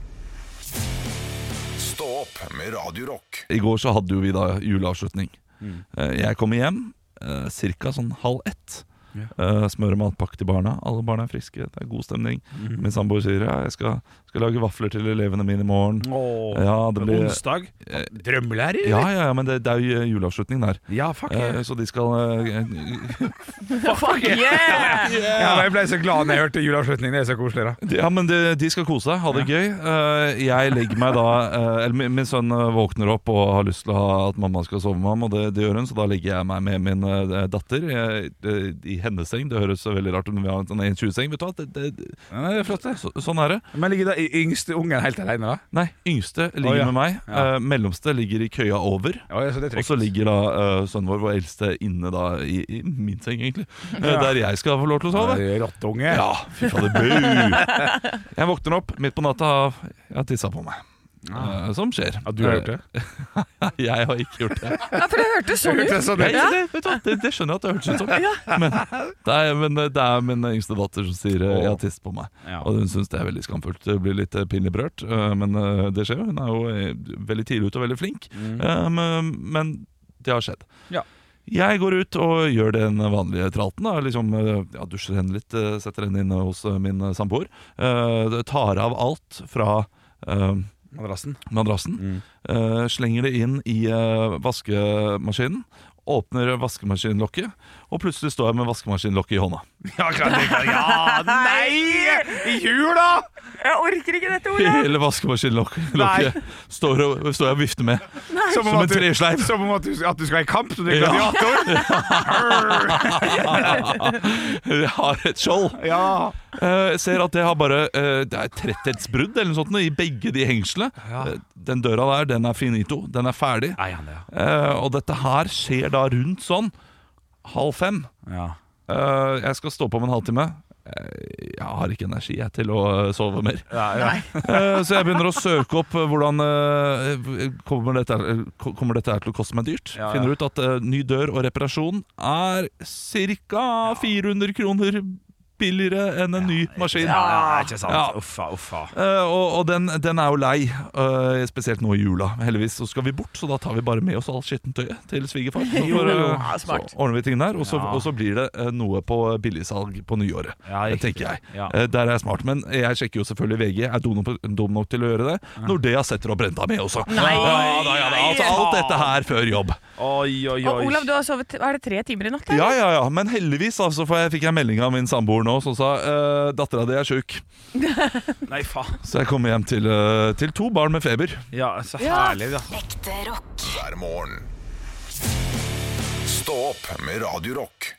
Stå opp med Radio Rock.
I går så hadde jo vi da juleavslutning.
Mm.
Eh, Jeg kommer hjem eh, ca. sånn halv ett.
Ja.
Eh, Smører matpakke til barna. Alle barna er friske, det er god stemning.
Mhm.
Min samboer sier ja, jeg skal, skal lage vafler til elevene mine i morgen.
Åh,
Ja, det blir- Eh,
Onsdag. Drømmelærer?
Ja, ja, ja, men det, det er jo eh, juleavslutning der.
Ja, fuck
Eh,
yeah.
Så de skal eh,
Fuck yeah!
Ja, men jeg ble så glad når jeg hørte juleavslutningen. Det er så koselig, da.
De- Ja, men de, de skal kose seg, ha det gøy. Eh, jeg legger meg da eh, Eller min, min sønn eh, våkner opp og har lyst til å ha at mamma skal sove med ham, og det, det gjør hun, så da legger jeg meg med min eh, datter eh, eh, i hennes seng. Det høres veldig rart ut når vi har en sånn 1,20-seng. Vet du hva, det, det,
Ja, det er flott, det.
så, sånn er det.
Men ligger da i- yngste ungen helt alene, da?
Nei, yngste ligger
Å, ja.
med meg.
Ja.
eh, mellomste ligger i køya over.
ja, så det er
og så ligger da eh, sønnen vår, vår eldste, inne da i, i min seng, egentlig. Eh,
Ja.
Der jeg skal få lov til å sove.
Ja, Rottunge.
Ja, fy fader, bu! Jeg våkner opp midt på natta av Jeg har tissa på meg. Eh, som skjer.
Ah. Ja, du har gjort det?
Nei, (laughs) jeg har ikke gjort det.
Ja, for det hørtes sånn ut.
Det,
Ja.
det, vet du, hva, det, det skjønner jeg at det hørtes ut som. Men det, er, men eh, det er min yngste datter som sier eh, 'jeg har tisset på meg'.
Ja.
Og hun syns det er veldig skamfullt. Det blir litt eh, pinlig berørt, eh, men eh, det skjer jo. Hun er jo eh, veldig tidlig ute og veldig flink.
Mm.
Eh, men, men det har skjedd.
Ja.
Jeg går ut og gjør den vanlige tralten. Da. Liksom, eh, ja, dusjer henne litt, eh, setter henne inne hos eh, min eh, samboer. Eh, Tar av alt fra eh,
Madrassen. Mm.
madrassen. Eh, slenger det inn i eh, vaskemaskinen. Åpner vaskemaskinlokket, og plutselig står jeg med vaskemaskinlokket i hånda.
Ja, klart det kan Ja, nei! I jula!
Jeg orker ikke dette
(laughs)
ordet.
Hele vaskemaskinlokket står, og- står jeg og vifter med.
Nei.
Som en
at du-
tresleiv.
Som om at du, at du skal i kamp, så du er
Ja.
gladiator.
(laughs) Jeg har et skjold.
Ja.
Eh, Jeg ser at det har bare eh, Det er tretthetsbrudd eller noe sånt nå i begge de hengslene. Eh, Den døra der, den er finito. Den er ferdig.
Nei, han det,
Eh, og dette her skjer da rundt sånn halv fem.
Ja.
Eh, jeg skal stå på om en halvtime. Eh, Jeg har ikke energi jeg, til å eh, sove mer.
Nei.
Eh, så jeg begynner å søke opp eh, hvordan eh, kommer, dette, her- eh, kommer dette her til å koste meg dyrt.
Ja, ja.
Finner ut at eh, ny dør og reparasjon er ca. 400 kroner billigere enn en ny maskin.
Ja, ikke sant.
Ja.
Uffa, uffa.
Eh, og og den, den er jo lei, eh, spesielt nå i jula. Heldigvis så skal vi bort, så da tar vi bare med oss all skittentøyet
(laughs)
til svigerfar. Så,
Jo,
får, eh,
jo, ja, smart.
så ordner vi ting der, og så,
Ja.
og så blir det eh, noe på billigsalg på nyåret.
Ja,
det
riktig.
tenker jeg.
Ja.
Eh, der er jeg smart, men jeg sjekker jo selvfølgelig VG. Jeg er dum nok, dum nok til å gjøre det. Nordea setter opp renta mi også.
Nei.
Ja, da, ja, da. Altså, alt dette her før jobb.
Oi, oi,
Og
oi.
Olav, du har sovet er det tre timer i natt?
Ja, ja, ja, men heldigvis altså, for jeg fikk jeg melding av min samboer nå som sa uh, dattera di er sjuk.
(laughs) Nei, faen.
Så jeg kommer hjem til, eh, til to barn med feber.
Ja, så
Ja.
herlig, da.
Hver morgen. Stå opp med Radio Rock.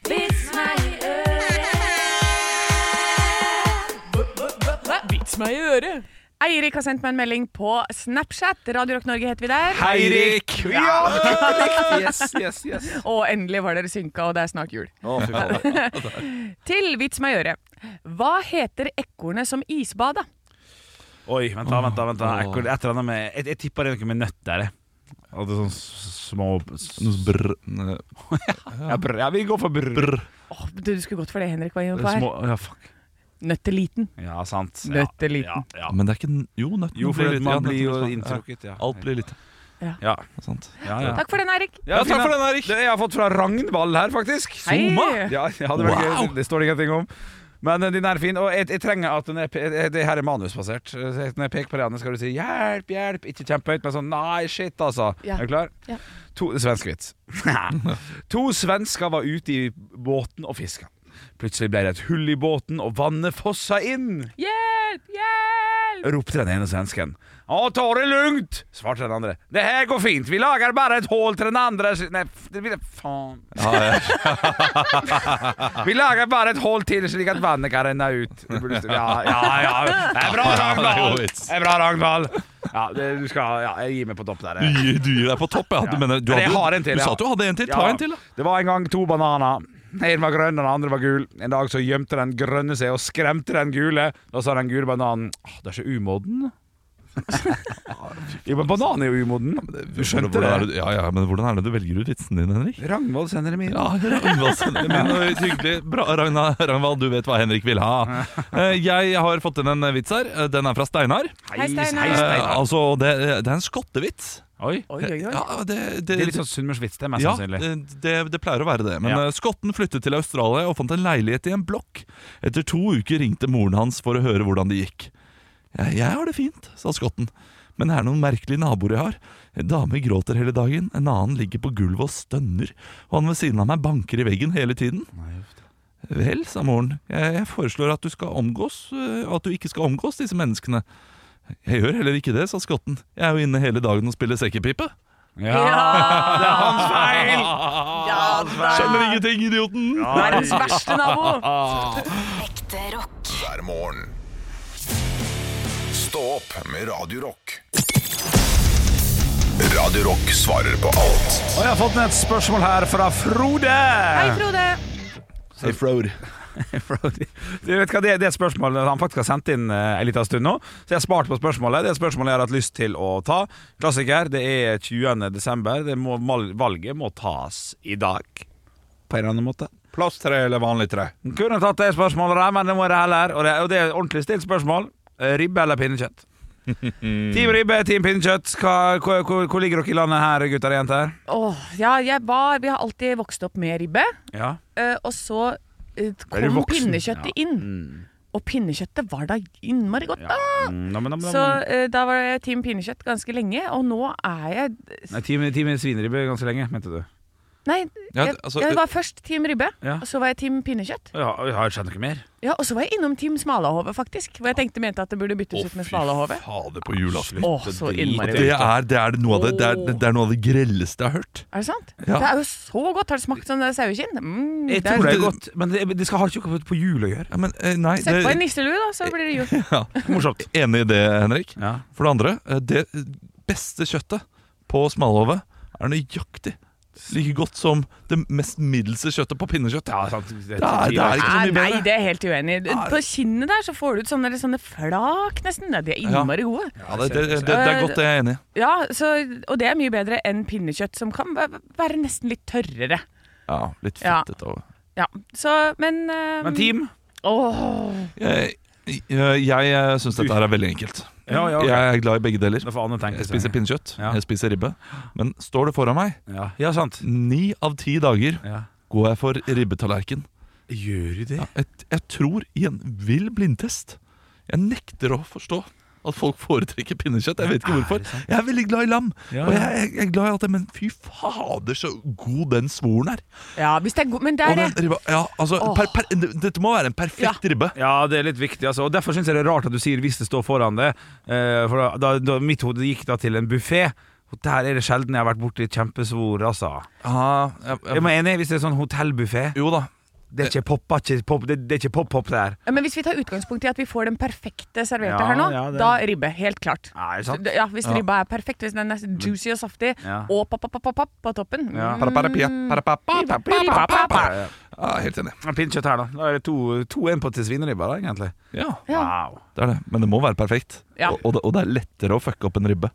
Vits meg i øret. Eirik har sendt meg en melding på Snapchat. Radio Rock Norge heter vi der.
Eirik! Ja! Yes, yes, yes.
Og endelig var dere synka, og det er snart jul.
Å, fy faen.
(laughs) Til vits meg i øret. Hva heter ekornet som isbada?
Oi, vent da, vent da, vent da. Ekko- Et eller annet med Jeg, jeg tipper det er noe med nøtter. jeg. Og det er sånn s- små s-
Noe brr, eh,
(laughs) ja, brr. ja, vi går for brr.
brr.
Åh, du skulle gått for det Henrik var inne på her.
Små, ja, fuck.
Nøtteliten.
ja, sant. Ja,
Nøtteliten.
Ja, ja.
Men det er ikke Jo, nøtten
Jo, for
blir litt ja,
man blir jo
nøtten blir-
inntrukket. Ja.
ja, Alt blir litt
Ja,
sant.
ja, ja.
Takk for den, Eirik.
Ja,
takk
fin,
for
ja.
den, Erik.
Det jeg har fått fra Ragnvald her, faktisk.
Hei.
Ja, ja, det, var
Wow.
gøy. det står det ingenting om. Men eh, din er fin, og jeg, jeg trenger at den er pe- eh, Det her er manusbasert. eh, Så jeg- Når jeg peker på deg, Anne, skal du si 'hjelp, hjelp', ikke kjempehøyt, men sånn 'nei, shit', altså.
Ja.
Er du klar?
Ja.
To svensk vits. (laughs) to svensker var ute i båten og fiska. Plutselig ble det et hull i båten, og vannet fossa inn.
Hjelp! Hjelp!
ropte den ene svensken. Å, ta det lugnt, svarte den andre. Det her går fint, vi lager bare et hull til den andre si- Nei, f- det vil jeg faen Vi lager bare et hull til slik at vannet kan renne ut. Det burde stå- Ja, ja, ja. Det er bra,
(laughs) Ja, det er god
Ragnvald!
vits.
Det er bra, Ragnvald! Ja, det, du skal Ja, jeg gir meg på topp der.
Du gir, du gir deg på topp, ja. Du, mener, du,
Men jeg
hadde-
har en til,
du
ja.
sa at du hadde en til. Ta
Ja.
en til, da.
Det var en gang to bananer. En var grønn, og den andre var gul. En dag så gjemte den grønne seg og skremte den gule. Da sa den gule bananen Åh, det er så umoden. jo, men banan er jo umoden. Du skjønte
Hvordan er
det?
det, ja, ja, men hvordan er det du velger ut vitsene dine, Henrik?
Ragnvald sender dem inn.
Ja, Ragnvald sender
(laughs)
dem inn. og Hyggelig. Bra, Ragna- Ragnvald, du vet hva Henrik vil
(laughs)
ha. Eh, Jeg har fått inn en vits her. Eh, Den er fra Steinar.
Hei, Steinar. Hei, Steinar.
Eh, Altså, det, det er en skottevits.
Oi.
Ja, det, det,
Det er litt sånn sunnmørsvits, det, mest
ja,
sannsynlig.
det- Det, det pleier å være det. Men
Ja.
eh, skotten flyttet til Australia og fant en leilighet i en blokk. Etter to uker ringte moren hans for å høre hvordan det gikk. Jeg, jeg har det fint, sa skotten. Men det er noen merkelige naboer jeg har. En dame gråter hele dagen, en annen ligger på gulvet og stønner, og han ved siden av meg banker i veggen hele tiden. Vel, sa moren, jeg, jeg foreslår at du, skal omgås, eh, at du ikke skal omgås disse menneskene. Jeg gjør heller ikke det, sa skotten. Jeg er jo inne hele dagen og spiller sekkepipe.
Ja,
Ah.
det er hans feil!
Skjønner ingenting, idioten!
Verdens verste nabo.
Ekte rock. Hver morgen. Stå opp med Radio Rock. Radio Rock svarer på alt.
Og jeg har fått ned et spørsmål her fra Frode.
Hei, Frode.
Hei,
(laughs)
Frode.
Frode. Du vet hva, det, det er et spørsmål han faktisk har sendt inn eh, en liten stund nå, så jeg har spart på spørsmålet. Det er et spørsmål jeg har hatt lyst til å ta. Klassiker. Det er 20. desember. Det må, mal- valget må tas i dag. På en eller annen måte.
Plasttre eller vanlig tre?
Kunne tatt det spørsmålet der, men det må jeg heller. Og det, og det er et ordentlig stilt spørsmål. Eh, Ribbe eller (laughs) pinnekjøtt? Team ribbe, team pinnekjøtt. Hva, hvor, hvor, hvor ligger dere i landet her, gutter og jenter?
Åh, ja, jeg var, vi har alltid vokst opp med ribbe,
Ja.
eh, og så eh,
Er du
kom
voksen?
pinnekjøttet inn. Og pinnekjøttet var da innmari godt, da.
Mm, nam, nam, nam.
Så eh, da var jeg team pinnekjøtt ganske lenge, og nå er jeg
Nei, team, team svineribbe ganske lenge, mente du.
Nei,
Ja,
jeg,
altså,
jeg
eh,
var først team ribbe,
ja.
og så var jeg team pinnekjøtt.
Ja, jeg har skjønt noe mer.
Ja, Og så var jeg innom team smalahove, faktisk. Hvor jeg tenkte mente at det burde byttes ut med smalahove.
Fader på julaften.
Åh, så innmari
det
godt.
er, det, er noe av det, det, er, det er noe av det grelleste jeg har hørt.
Er det sant?
Ja.
Det er jo så godt! Har du smakt sånn der saueskinn? Mm,
Jeg
er-
tror det er godt, men det, det skal ha ikke noe på jul å gjøre.
Ja, men, eh, nei,
Sett på en
det-
nisselue, da, så blir det jul.
(laughs) Ja.
(laughs) Morsomt.
Enig i det, Henrik. For det andre, eh, det beste kjøttet på smalahove er nøyaktig like godt som det mest middelste kjøttet på pinnekjøtt.
Det,
er, det er ikke så mye
Nei,
bedre. Ah.
det er jeg helt uenig. i. På kinnet der så får du ut sånne, sånne flak, nesten. Ja, De er innmari gode.
Ja, det, det, det, det er godt, det er jeg enig i.
Ja, så, og det er mye bedre enn pinnekjøtt, som kan væ- være nesten litt tørrere.
Ja, litt
Ja.
fettet og
Ja, så, men eh,
Men team?
Åh.
Jeg, Eh, jeg, jeg syns dette her er veldig enkelt.
Ja, ja, ok.
Jeg er glad i begge deler.
tenke
Jeg spiser
seg.
pinnekjøtt, jeg spiser ribbe. Men står det foran meg, ni av ti dager går jeg for ribbetallerken.
Gjør du det?
Ja, jeg, jeg tror i en vill blindtest Jeg nekter å forstå at folk foretrekker pinnekjøtt. Jeg vet ikke hvorfor. Jeg er veldig glad i lam.
Ja,
Og
ja.
jeg, jeg, jeg er glad i alt det, men fy fader, så god den svoren er.
Ja, hvis det er god Men det
Og
er
den
det.
ribba, ja, altså,
Åh.
per, per, dette må være en perfekt ribbe.
Ja, det er litt viktig, altså. Og Derfor syns jeg det er rart at du sier 'hvis det står foran det'. Eh, for da, da, da, mitt hode gikk da til en buffé. Og der er det sjelden jeg har vært borti kjempesvor, altså.
Ja, jeg,
Jeg må enig, hvis det er sånn hotellbuffé
Jo da.
Det er ikke poppa, ikke pop, det, det er ikke pop-pop der.
Ja, Men hvis vi tar utgangspunkt i at vi får den perfekte serverte
Ja,
her nå,
ja, det-
da ribbe. Helt klart.
Ja, er det sant?
Ja, Hvis
Ja.
ribba er perfekt, hvis den er juicy og saftig,
Ja.
og papp-papp-papp på toppen
Ja.
mm,
Paraparapia, parapapa,
parapapa.
Ja,
Ja, Ah, helt enig.
Pinnekjøtt her, da. Da er det to, to en på til svineribba, da, egentlig.
Ja.
Wow.
Det er det. Men det må være perfekt.
Ja.
Og, og, det, og det er lettere å fucke opp en ribbe.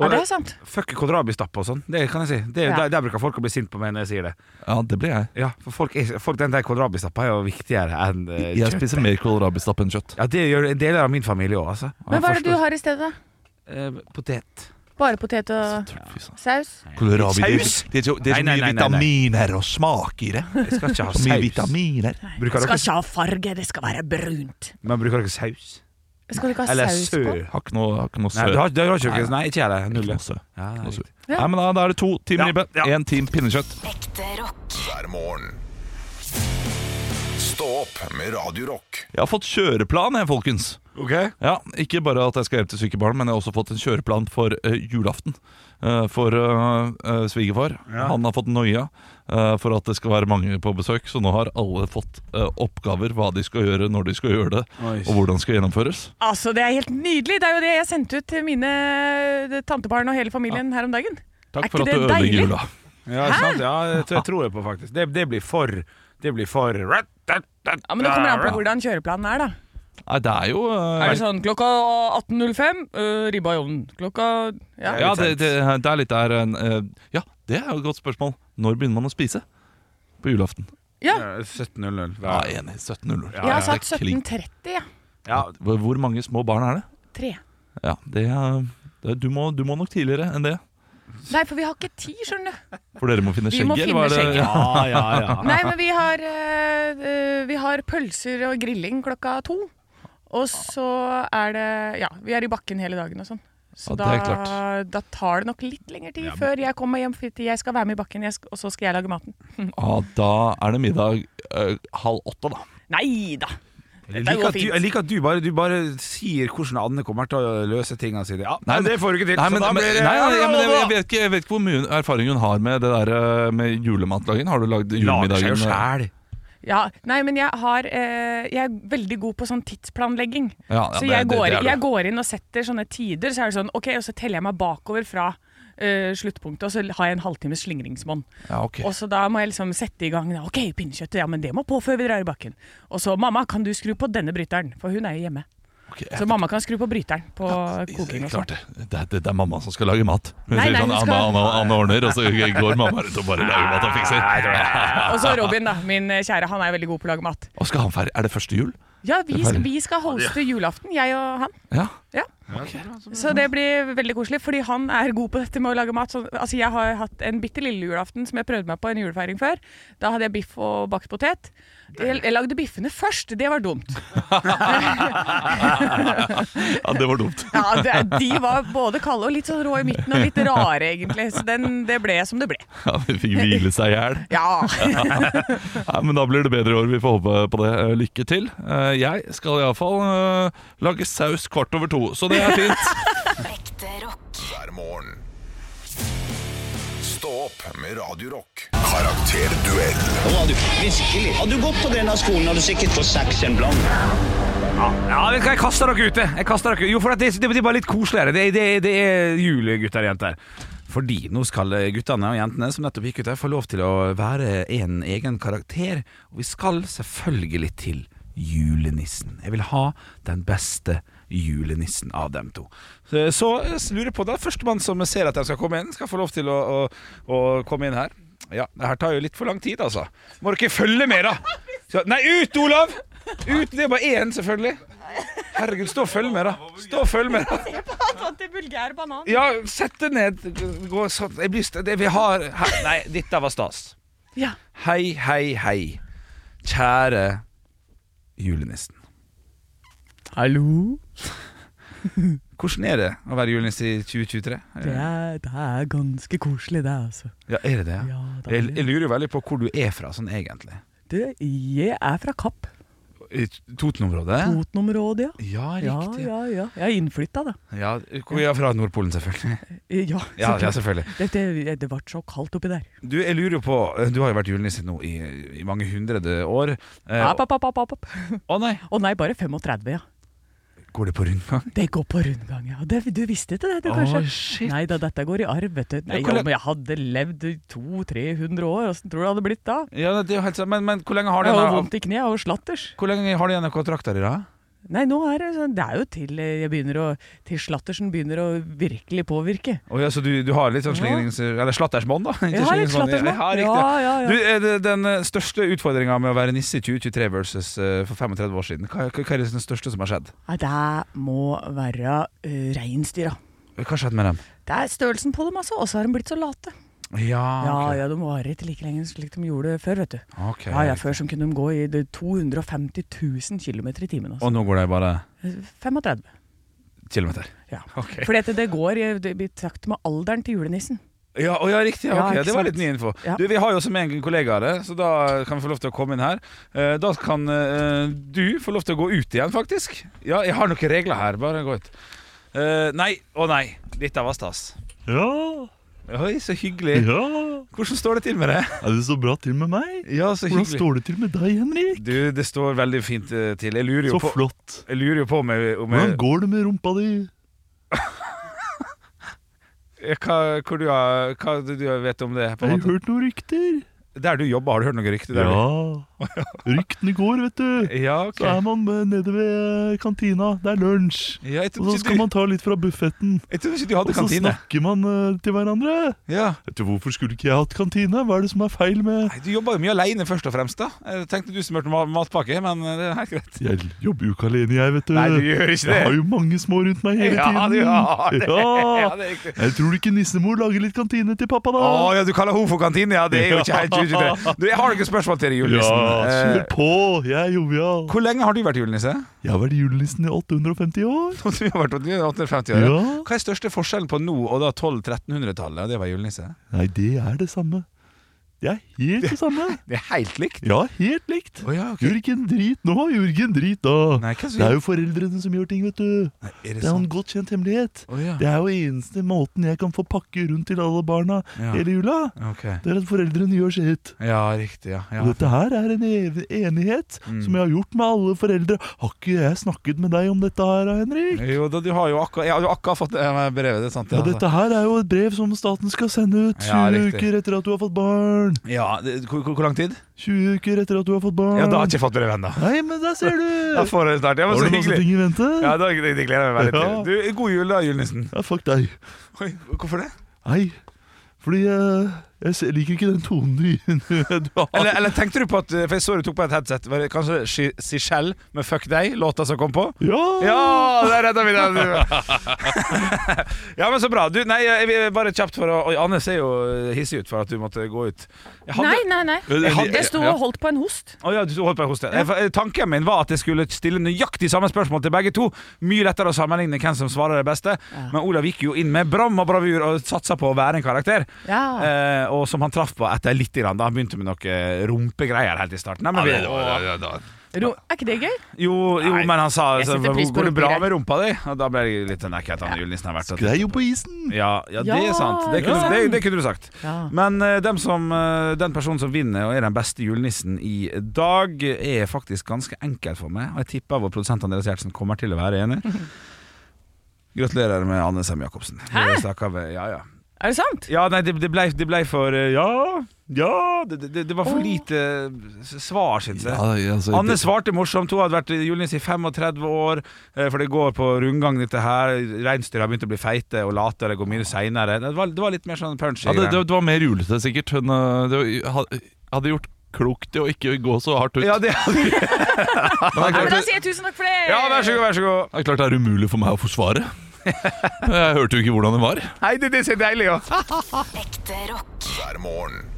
Ja, det er sant.
Fuck kohlrabistappe og sånn. Det kan jeg si. Det,
Ja.
der, der bruker folk å bli sint på meg når jeg sier det.
Ja, det blir jeg.
Ja, for folk, er- folk Den der kålrabistappa er jo viktigere enn eh,
Jeg
kjøtt.
spiser mer kålrabistapp enn kjøtt.
Ja, Det gjør deler av min familie òg, altså.
Men hva er det du har i stedet?
Potet.
Bare potet og saus?
Kålrabi det er-
Saus?
Det er så, det er så
Nei, nei,
mye
nei, nei, nei.
vitaminer og smak i det.
Jeg skal ikke ha
så mye
saus.
vitaminer.
Bruker dere,
ikke ha farge, det skal være brunt.
men bruker dere saus?
Skal du ikke ha
Eller
saus
sø?
på?
Har ikke noe, har ikke noe sø.
Nei, du har, du har ikke,
Nei,
nei, ikke jeg det. Null.
Ikke noe sø.
Ja,
Ikke noe sø.
riktig.
Nei, men da, da er det to team ribbe, én team pinnekjøtt.
Hver morgen. Stå opp med Radio Rock.
Jeg har fått kjøreplan, jeg, folkens. Ja, ikke bare at jeg skal hjem til syke barn, men jeg har også fått en kjøreplan for eh, julaften. Eh, for eh, eh, svigerfar.
Ja.
Han har fått noia eh, for at det skal være mange på besøk, så nå har alle fått eh, oppgaver. Hva de skal gjøre, når de skal gjøre det,
Oi.
og hvordan det skal gjennomføres.
Altså, Det er helt nydelig! Det er jo det jeg sendte ut til mine eh, tantebarn og hele familien her om dagen.
Takk
er
for
ikke
at
det
du ødelegger
deilig?
jula.
Ja,
Hæ?
sant? ja det tror jeg tror jeg på, faktisk. Det, det blir for Det blir for Ja,
Ja, Men det kommer an på hvordan kjøreplanen er, da.
Nei, det er jo eh,
Er det sånn klokka 18.05, øh, ribba i ovnen. Klokka Ja,
Ja, det, det, det er litt der en, eh, Ja, det er jo et godt spørsmål. Når begynner man å spise? På julaften.
Ja.
17.00.
Ja, jeg er enig. 17.00.
Jeg har sagt
Det er klink.
17.30, ja.
Hvor hvor mange små barn er det?
Tre.
Ja, det er, det, du, må, du må nok tidligere enn det.
Nei, for vi har ikke tid, skjønner du.
For dere må finne
Vi
skjegg,
må finne
eller hva er det?
skjegg. Ja, Nei, men vi har, øh, øh, vi har pølser og grilling klokka to. Og så er det Ja, vi er i bakken hele dagen og sånn. Så
Ja, det er
da, da tar det nok litt lengre tid før jeg kommer hjem, fordi jeg skal være med i bakken, jeg sk- og så skal jeg lage maten.
(laughs) Ja, da er det middag eh, halv åtte, da.
Nei da!
Jeg
Dette
liker,
går
at du, jeg
fint.
liker at du bare, du bare sier hvordan Anne kommer til å løse tingene sine. Ja, nei,
Nei, men-
det får du ikke til,
Nei, men,
så da
men,
blir det
nei, nei, ja, men jeg, jeg,
vet,
vet ikke, jeg vet ikke hvor mye erfaring hun har med det der eh, med julematlaging. Har du lagd julemiddagen?
seg jo sjæl.
Ja, nei, men jeg, har, eh, jeg er veldig god på sånn tidsplanlegging.
Ja, ja,
så
det-
jeg,
det-
går,
det er du.
jeg går inn og setter sånne tider, så er det sånn, ok, og så teller jeg meg bakover fra eh, sluttpunktet, og så har jeg en halvtimes slingringsmonn.
Ja, ok.
Og så da må jeg liksom sette i gang, ok, pinnekjøttet, ja, men det må på før vi drar i bakken. Og så, mamma, kan du skru på denne bryteren? For hun er jo hjemme. så mamma kan skru på bryteren på koking og
Klart
sånn.
det. Det, er- det. det er mamma som skal lage mat. Hun
Nei,
sier
nei,
sånn
hun skal-
Anne, Anne, Anne ordner, og så går mamma rundt og bare lager mat og fikser.
Og så Robin da, min eh, kjære, han er veldig god på å lage mat.
(laughs) Og skal han feire? Er det første jul?
Ja, vi, vi skal hoste julaften, jeg og han.
Ja. (laughs)
Ja. Så det blir veldig koselig, fordi han er god på dette med å lage mat. Så, altså, jeg har hatt en bitte lille julaften som jeg prøvde meg på en julefeiring før. Da hadde jeg biff og bakt potet. Jeg, jeg lagde biffene først, det var dumt.
ja, det var dumt.
Ja, det, De var både kalde og litt sånn rå i midten, og litt rare egentlig. Så den, det ble som det ble.
Ja, vi fikk hvile seg i hjel.
Ja.
Nei, men da blir det bedre år. Vi får håpe på det. Eh, Lykke til. Eh, Jeg skal iallfall uh, lage saus kvart over to, så det er fint.
Hver morgen. Stå opp med Radio Rock. Karakterduell.
Virkelig. Hadde du gått på denne skolen, hadde du sikkert fått seks en blank.
Ja, vet du hva, jeg kaster dere ute. Jeg kaster dere. Jo, for at det, det blir bare litt koseligere. Det, det, det er jul, gutter og jenter. Fordi nå skal guttene og jentene som nettopp gikk ut her, få lov til å være en egen karakter. Og vi skal selvfølgelig til julenissen. Jeg vil ha den beste julenissen av dem to. Så, så jeg lurer på det. Førstemann som ser at jeg skal komme inn, skal få lov til å, å, å komme inn her. Ja, det her tar jo litt for lang tid, altså. Må dere følge med, da! Så, nei, ut, Olav! Ut, det er bare én, selvfølgelig. Herregud, stå og følg med, da. Stå og følg med. da.
Se på han fant en vulgær banan.
Ja, sett det ned. Gå sånn. Jeg blir st- det vi har her. Nei, dette var stas.
Ja.
Hei, hei, hei. Kjære julenissen.
Hallo?
Hvordan er det å være julenisse i 2023?
Det er, Eh, det er ganske koselig, det, altså.
Ja, er det det?
Ja, det er
jeg, jeg lurer jo veldig på hvor du er fra, sånn egentlig.
Du, jeg er fra Kapp.
I Toten-området?
Totenområdet, ja.
Ja, riktig.
Ja, ja, ja. Jeg er innflytta, da.
Ja, hvor vi er fra Nordpolen, selvfølgelig.
Eh, Ja,
Ja,
så
ja,
klart.
selvfølgelig.
Det, det, det ble så kaldt oppi der.
Du, jeg lurer jo på eh, Du har jo vært julenisse nå i, i mange hundrede år. Eh,
App, app, app, app, app.
Å nei.
Å nei, bare 35, ja.
Går det på rundgang?
Det går på rundgang, ja. Det, du visste ikke det, du
Å,
kanskje?
shit.
Nei da, dette går i arv, vet du. Nei,
Ja, hvor
ja,
lang-
men jeg hadde levd 200-300 år, åssen tror du det hadde blitt da?
Ja, det er jo helt sant. Men, men hvor lenge har du
Jeg har
igjen
jo
av-
vondt i kneet og slatters.
Hvor lenge har du igjen av kontrakter i dag?
Nei, nå er det sånn, det er jo til eh, jeg begynner å Til slattersen begynner å virkelig påvirke.
Å ja, så du, du har litt sånn slingrings... Eller slattersmonn, da? (laughs) Ikke
Jeg har litt
slingringsmonn.
slattersmonn.
Ja, riktig.
Ja, ja, ja.
Du, er det den eh, største utfordringa med å være nisse i 2023 versus eh, for 35 år siden, hva, hva hva er det den største som har skjedd?
Nei, det må være uh, reinsdyra.
Hva skjedde med dem?
Det er størrelsen på dem, altså, og så har de blitt så late.
Ja,
Ja,
ok.
ja, de varer ikke like lenge slik de gjorde før, vet du.
Ok,
ja, ja,
riktig.
Før så kunne de gå i det 250 000 km i timen. Altså.
Og nå går de bare
35.
kilometer?
Ja.
Ok.
Fordi at det går i, det blir takt med alderen til julenissen.
Ja, å, ja riktig. Ja,
Ja,
ok,
ikke
det
sant?
var litt ny info.
Ja.
Du, vi har jo også med en kollega av det, så da kan vi få lov til å komme inn her. Eh, Da kan eh, du få lov til å gå ut igjen, faktisk. Ja, jeg har noen regler her. Bare gå ut. Eh, nei, å nei. Dette var stas. Ja. Oi, så hyggelig. Hvordan står det til med det?
Er det så bra til med meg?
Ja, så
Hvordan
hyggelig.
står det til med deg, Henrik?
Du, det står veldig fint eh, til. Jeg lurer jo
Så
på
flott.
Jeg lurer jo på om jeg, om
Hvordan
jeg,
går det med rumpa di?
Eh, hva, hvor du har, hva du du vet om det? På
Jeg
en
har
måte.
hørt noen rykter.
Der du jobber, har du hørt noen rykter? der? (laughs)
Ja. Ryktene går, vet du.
Ja, ok.
Så er man eh, nede ved kantina. Det er lunsj.
Ja, jeg
og
trodde
så
ikke
skal
du-
man ta litt fra buffetten.
Jeg trodde ikke du hadde
og så
kantine.
snakker man eh, til hverandre.
Ja.
Vet du, Hvorfor skulle ikke jeg hatt kantine? Hva er det som er feil med
Du jobber jo mye alene først og fremst. da Jeg tenkte du smurte ma- matpakke, men eh, det er helt greit.
Jeg jobber jo ikke alene, jeg, vet du.
Nei, du gjør ikke det.
Jeg har jo mange små rundt meg hele
Ja,
tiden.
du har det. Ja, det er
Ja.
riktig.
Jeg tror ikke nissemor lager litt kantine til pappa, da.
Å ja, du kaller henne for kantine? Ja, det er jo ikke helt utrygt. Du, Jeg har noen spørsmål til deg, julenissen.
Ja, kjør
Eh,
på! Jeg er jovial.
Hvor lenge har du vært julenisse?
Jeg har vært julenissen i 850 år.
(laughs) Du har vært 850 år. Ja.
Ja.
Hva er største forskjellen på nå og da 1200-1300-tallet? og Det var julenisse.
Nei, det er det samme. Det er helt det samme.
(laughs) Det er helt likt.
Ja, helt likt. Gjør ikke en drit nå, gjør ikke en drit da.
hva så-
det er jo foreldrene som gjør ting, vet du.
er det
er en
sant?
godt kjent hemmelighet.
Å, ja.
Det er jo eneste måten jeg kan få pakke rundt til alle barna
Ja.
hele jula.
Ok.
Det er at foreldrene gjør sitt.
Ja, riktig. Ja, Mm. ja.
Og dette her er en ev- enighet som jeg har gjort med alle foreldre. Har ikke jeg snakket med deg om dette her, Henrik?
Jo da, du har jo akkurat, ja, du har akkurat fått eh, brevet. Det er sant.
Ja, dette her er jo et brev som staten skal sende ut 20
Ja, riktig.
uker etter at du har fått barn.
ja, det, hvor, hvor hvor lang tid?
20 uker etter at du har fått barn.
Ja, Da har jeg ikke fått brevet ennå.
Nei, men der ser du!
Da får jeg det snart. Ja,
Har
men så
du masse
hyggelig.
ting i vente?
Ja, da, det, det gleder jeg meg veldig
Ja.
til. Du, god jul, da, julenissen.
Ja, fuck deg.
Oi, hvorfor det?
Nei, fordi eh, jeg se- liker ikke den tonen (laughs) du, du har.
Eller, eller tenkte du på at For jeg så du tok på et headset. Var det kanskje Shi- Sichelle med 'Fuck deg', låta som kom på?
Ja!
Ja, der redda vi den! (laughs) ja, men så bra. Du, nei, jeg vil bare kjapt for å Oi, Anne ser jo hissig ut for at du måtte gå ut. Jeg hadde-
Nei, nei, nei.
Jeg hadde-
Jeg sto
Ja.
og holdt på en host.
Å ja, du holdt på å hoste. Eh, Tanken min var at jeg skulle stille nøyaktig samme spørsmål til begge to. Mye lettere å sammenligne hvem som svarer det beste. Men Olav gikk jo inn med bram og bravur og satsa på å være en karakter.
Ja.
Eh, og som han traff på etter litt. Grann. Da han begynte med noe eh, rumpegreier helt i starten. Nei, men
Ja,
vi-
det var- Ro, er ikke det gøy?
Jo, jo men han sa
jeg
så,
setter pris på
Går det bra
rumpegreier.
med rumpa di? Og da ble jeg litt Nei, ikke at han julenissen har vært
Skrei jo på isen!
ja, ja, det
Ja,
er sant. Det
ja.
kunne, det, det kunne du sagt.
Ja.
Men eh, dem som, eh, den personen som vinner og er den beste julenissen i dag, er faktisk ganske enkel for meg. Og jeg tipper vår produsent Andreas Gjertsen kommer til å være enig. Gratulerer med Anne Sem Jacobsen.
Hæ?
Vi snakker ved- Ja, ja.
Er det sant?
ja nei, det, det, ble, det ble for eh, Ja, ja Det, det, det var for lite s- svar, syns jeg.
Ja, altså,
Anne
det-
svarte morsomt. Hun hadde vært julenisse i 35 år, eh, for det går på rundgang, dette her. Reinsdyr har begynt å bli feite og late, og det går mye seinere. Det, var- det var litt mer sånn punchy.
Ja, det, det,
greier.
det var mer julete, sikkert. Hun eh, det var, ha- hadde gjort klokt i å ikke gå så hardt ut.
Ja, det
(laughs)
Ja, men da sier jeg tusen takk for det!
Ja, vær så god, vær så god.
Det er klart det er umulig for meg å forsvare. Jeg hørte jo ikke hvordan det var.
Nei, det, det ser deilig ut.
Ekte rock. Hver morgen.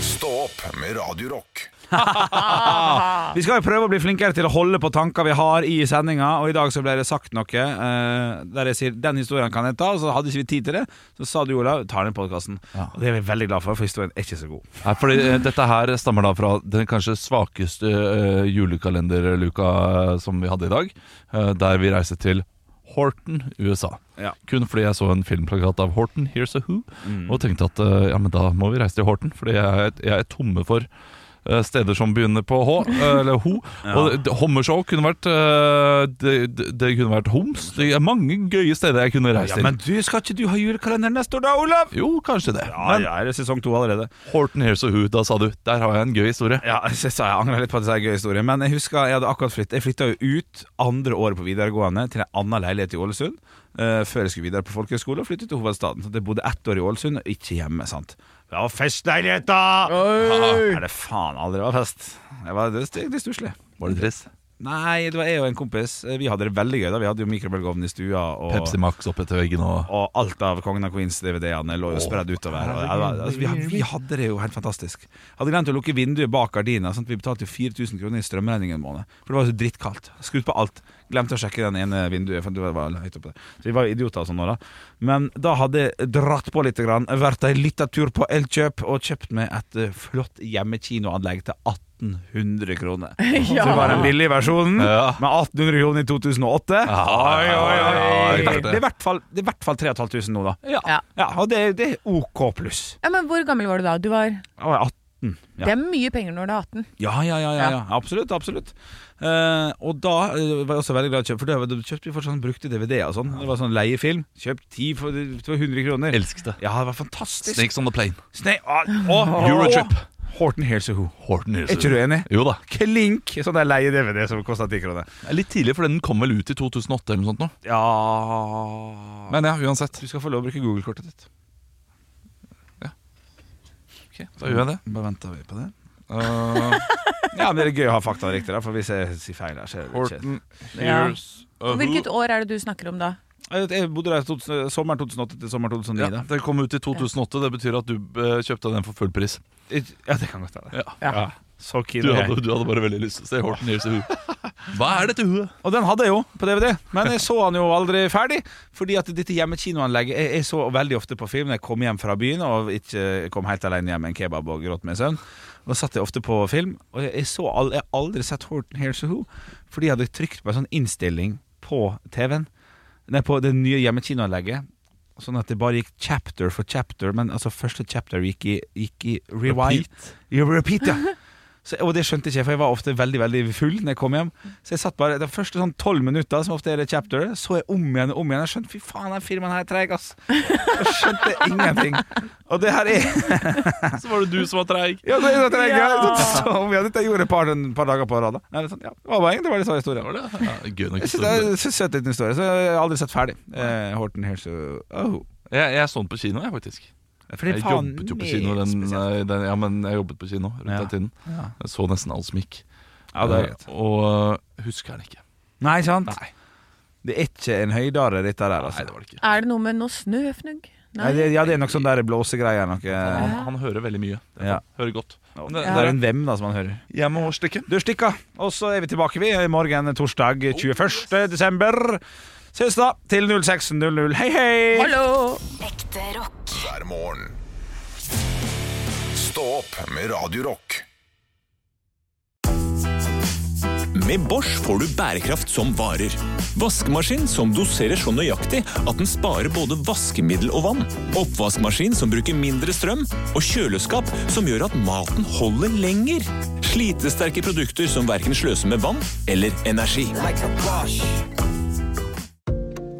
Stå opp med Radio Rock.
Vi skal jo prøve å bli flinkere til å holde på tanker vi har i sendinga, og i dag så ble det sagt noe eh, der jeg sier 'den historien kan jeg ta', og så hadde ikke vi tid til det. Så sa du, Olav, ta den i podkasten. Og det er vi veldig glad for, for historien er ikke så god.
Nei, fordi eh, Dette her stammer da fra den kanskje svakeste eh, julekalenderluka eh, som vi hadde i dag. eh, der vi reiser til Horton, USA.
Ja.
Kun fordi jeg så en filmplakat av Horton, Here's a Who, og tenkte at eh, ja, men da må vi reise til Horton, fordi jeg, er- jeg er tomme for eh, Steder som begynner på H, eh, eller Ho. Og det- Hommershow kunne vært eh, det, det- det kunne vært Homs. Det er mange gøye steder jeg kunne reist
Ja,
til.
men du, skal ikke du ha julekalender neste år da, Olav?
Jo, kanskje det.
Ja, ja, er det sesong to allerede.
Horton Here's a Who, da sa du. Der har jeg en gøy historie.
Ja, (laughs) jeg, sa, jeg angrer litt på at det er en gøy historie, men jeg husker jeg hadde akkurat flyttet. Jeg flytta jo ut andre året på videregående til en annen leilighet i Ålesund. eh, før jeg skulle videre på folkehøyskole og flyttet til hovedstaden. Så jeg bodde ett år i Ålesund, og ikke hjemme. sant? Det var festleilighet, da! Haha, Er det faen aldri var fest? Det var det, det, det er stusslig.
Var det dress?
Nei, det var jeg og en kompis. Vi hadde det veldig gøy. da Vi hadde jo mikrobølgeovn i stua. Og,
Pepsi Max opp etter veggen og
og alt av Kongen av Queens-DVD-ene lå jo
Åh,
spredd utover. Og,
herregud.
altså, vi, hadde, vi hadde det jo helt fantastisk. Hadde glemt å lukke vinduet bak gardina. Sånn at vi betalte jo 4000 kroner i strømregning en måned. For det var jo så drittkaldt. Skrudd på alt. Glemte å sjekke den ene vinduet. For det var høyt oppe der. Så vi var jo idioter og sånn nå, da. Men da hadde jeg dratt på litt, grann, vært ei lita tur på Elkjøp og kjøpt meg et eh, flott hjemmekinoanlegg til 1800 kroner.
(laughs)
Så det
Ah.
var den billige versjonen med 1800 kroner i 2008. Oi, oi, oi.
klart det.
Det er i hvert fall, det er i hvert fall 3500 nå, da. Ja.
Ja.
og det, det er OK pluss.
Ja, men Hvor gammel var du da? Du var,
Og 18.
Det
Ja.
er mye penger når du er 18.
Ja, ja, ja, ja, ja. Absolutt. absolutt Eh, Og da eh, var jeg også veldig glad i å kjøpe, for da kjøpte vi fortsatt sånn brukte DVD-er og sånn. Det var sånn leiefilm. Kjøpt ti for det var 100 kroner. Elsket det. Ja, det var fantastisk.
Snakes on the plane.
Sne ah, ah,
(laughs) Eurotrip.
Horten Hears a Who.
Horton Hears a
Er ikke du
Who.
enig?
Jo da.
Klink! Sånn der leie DVD som kosta ti kroner.
Det er Litt tidlig, for den kom vel ut i 2008 eller noe sånt nå.
Ja
Men ja, uansett.
Du skal få lov å bruke Google-kortet ditt.
Da gjør jeg det.
Bare venter vi på det. Eh, (laughs) ja, men det er gøy å ha fakta riktig, da, for hvis jeg sier feil her, så er det
Horton
Ja. Hvilket år er det du snakker om da?
Jeg bodde der 2000, sommeren 2008 til sommeren 2009.
Ja, den kom ut i 2008. Det betyr at du eh, kjøpte den for full pris.
Ja, det kan godt være.
Ja.
Ja. Så keen
du,
er jeg.
hadde, du hadde bare veldig lyst til å se Horton Hears a Who.
(laughs)
Hva er dette huet?
Og den hadde jeg jo på DVD, men jeg så den jo aldri ferdig. Fordi at dette hjemmekinoanlegget jeg, jeg så veldig ofte på film når jeg kom hjem fra byen og ikke kom helt alene hjem med en kebab og gråt med en søvn. Da satt jeg ofte på film, og jeg, jeg, så all, jeg har aldri sett Horton Hears a Who fordi jeg hadde trykt på en sånn innstilling på TV-en. Nei, på det nye hjemmekinoanlegget. Sånn at det bare gikk chapter for chapter, men altså første chapter gikk i, gikk i rewind.
Repeat?
Ja, repeat, ja. Så, og det skjønte ikke jeg, for jeg var ofte veldig veldig full når jeg kom hjem. Så jeg satt bare de første sånn tolv minutter, som ofte er det chapter, så jeg om igjen og om igjen. Jeg skjønte fy faen, den filmen her er treig, ass. Jeg skjønte ingenting. Og det her er
Så var det du som var treig.
Ja, så er det treig, ja.
Ja.
Så om igjen. Dette gjorde jeg et par, en par dager på rad. da. Nei, det er sånn, ja, det var bare egentlig bare det samme historien.
Ja, gøy nok.
Jeg synes det er en sø- søt liten historie, så jeg har aldri sett ferdig. Eh, Horten Hears a- oh.
Jeg, jeg så den på kino, jeg, faktisk.
for det er
jeg
faen
jobbet jo på
mer
kino den, eh, den, Ja, men jeg jobbet på kino rundt
Ja.
den tiden.
Ja.
Jeg så nesten alt som gikk.
Ja, det er
Eh, Og husker den ikke.
Nei, sant? Det er ikke en høydare, dette der. Altså. Nei, det var det ikke.
Er det noe med noe snøfnugg? Nei.
det, ja, det er nok sånn der blåsegreier. Noe,
Han, han hører veldig mye. Det er
Ja.
sant. Hører godt. Men
det,
det-
er en hvem da som han hører.
Jeg må stikke.
Du stikker, og så er vi tilbake vi i morgen torsdag
Oh,
21. desember. Ses da til 06.00. Hei, hei!
Hallo!
Ekte rock. Hver morgen. Stå opp med Radio Rock.
Med Bosch får du bærekraft som varer. Vaskemaskin som doserer så nøyaktig at den sparer både vaskemiddel og vann. Oppvaskmaskin som bruker mindre strøm. Og kjøleskap som gjør at maten holder lenger. Slitesterke produkter som verken sløser med vann eller energi.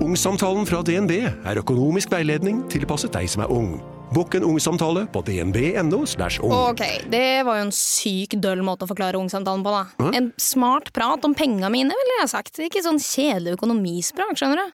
Ungsamtalen fra DNB er økonomisk veiledning tilpasset deg som er ung. Bokk en ungsamtale på dnb.no. slash ung.
Ok, det var jo en syk døll måte å forklare ungsamtalen på, da. En smart prat om penga mine, ville jeg ha sagt. Ikke sånn kjedelig økonomisprat, skjønner du.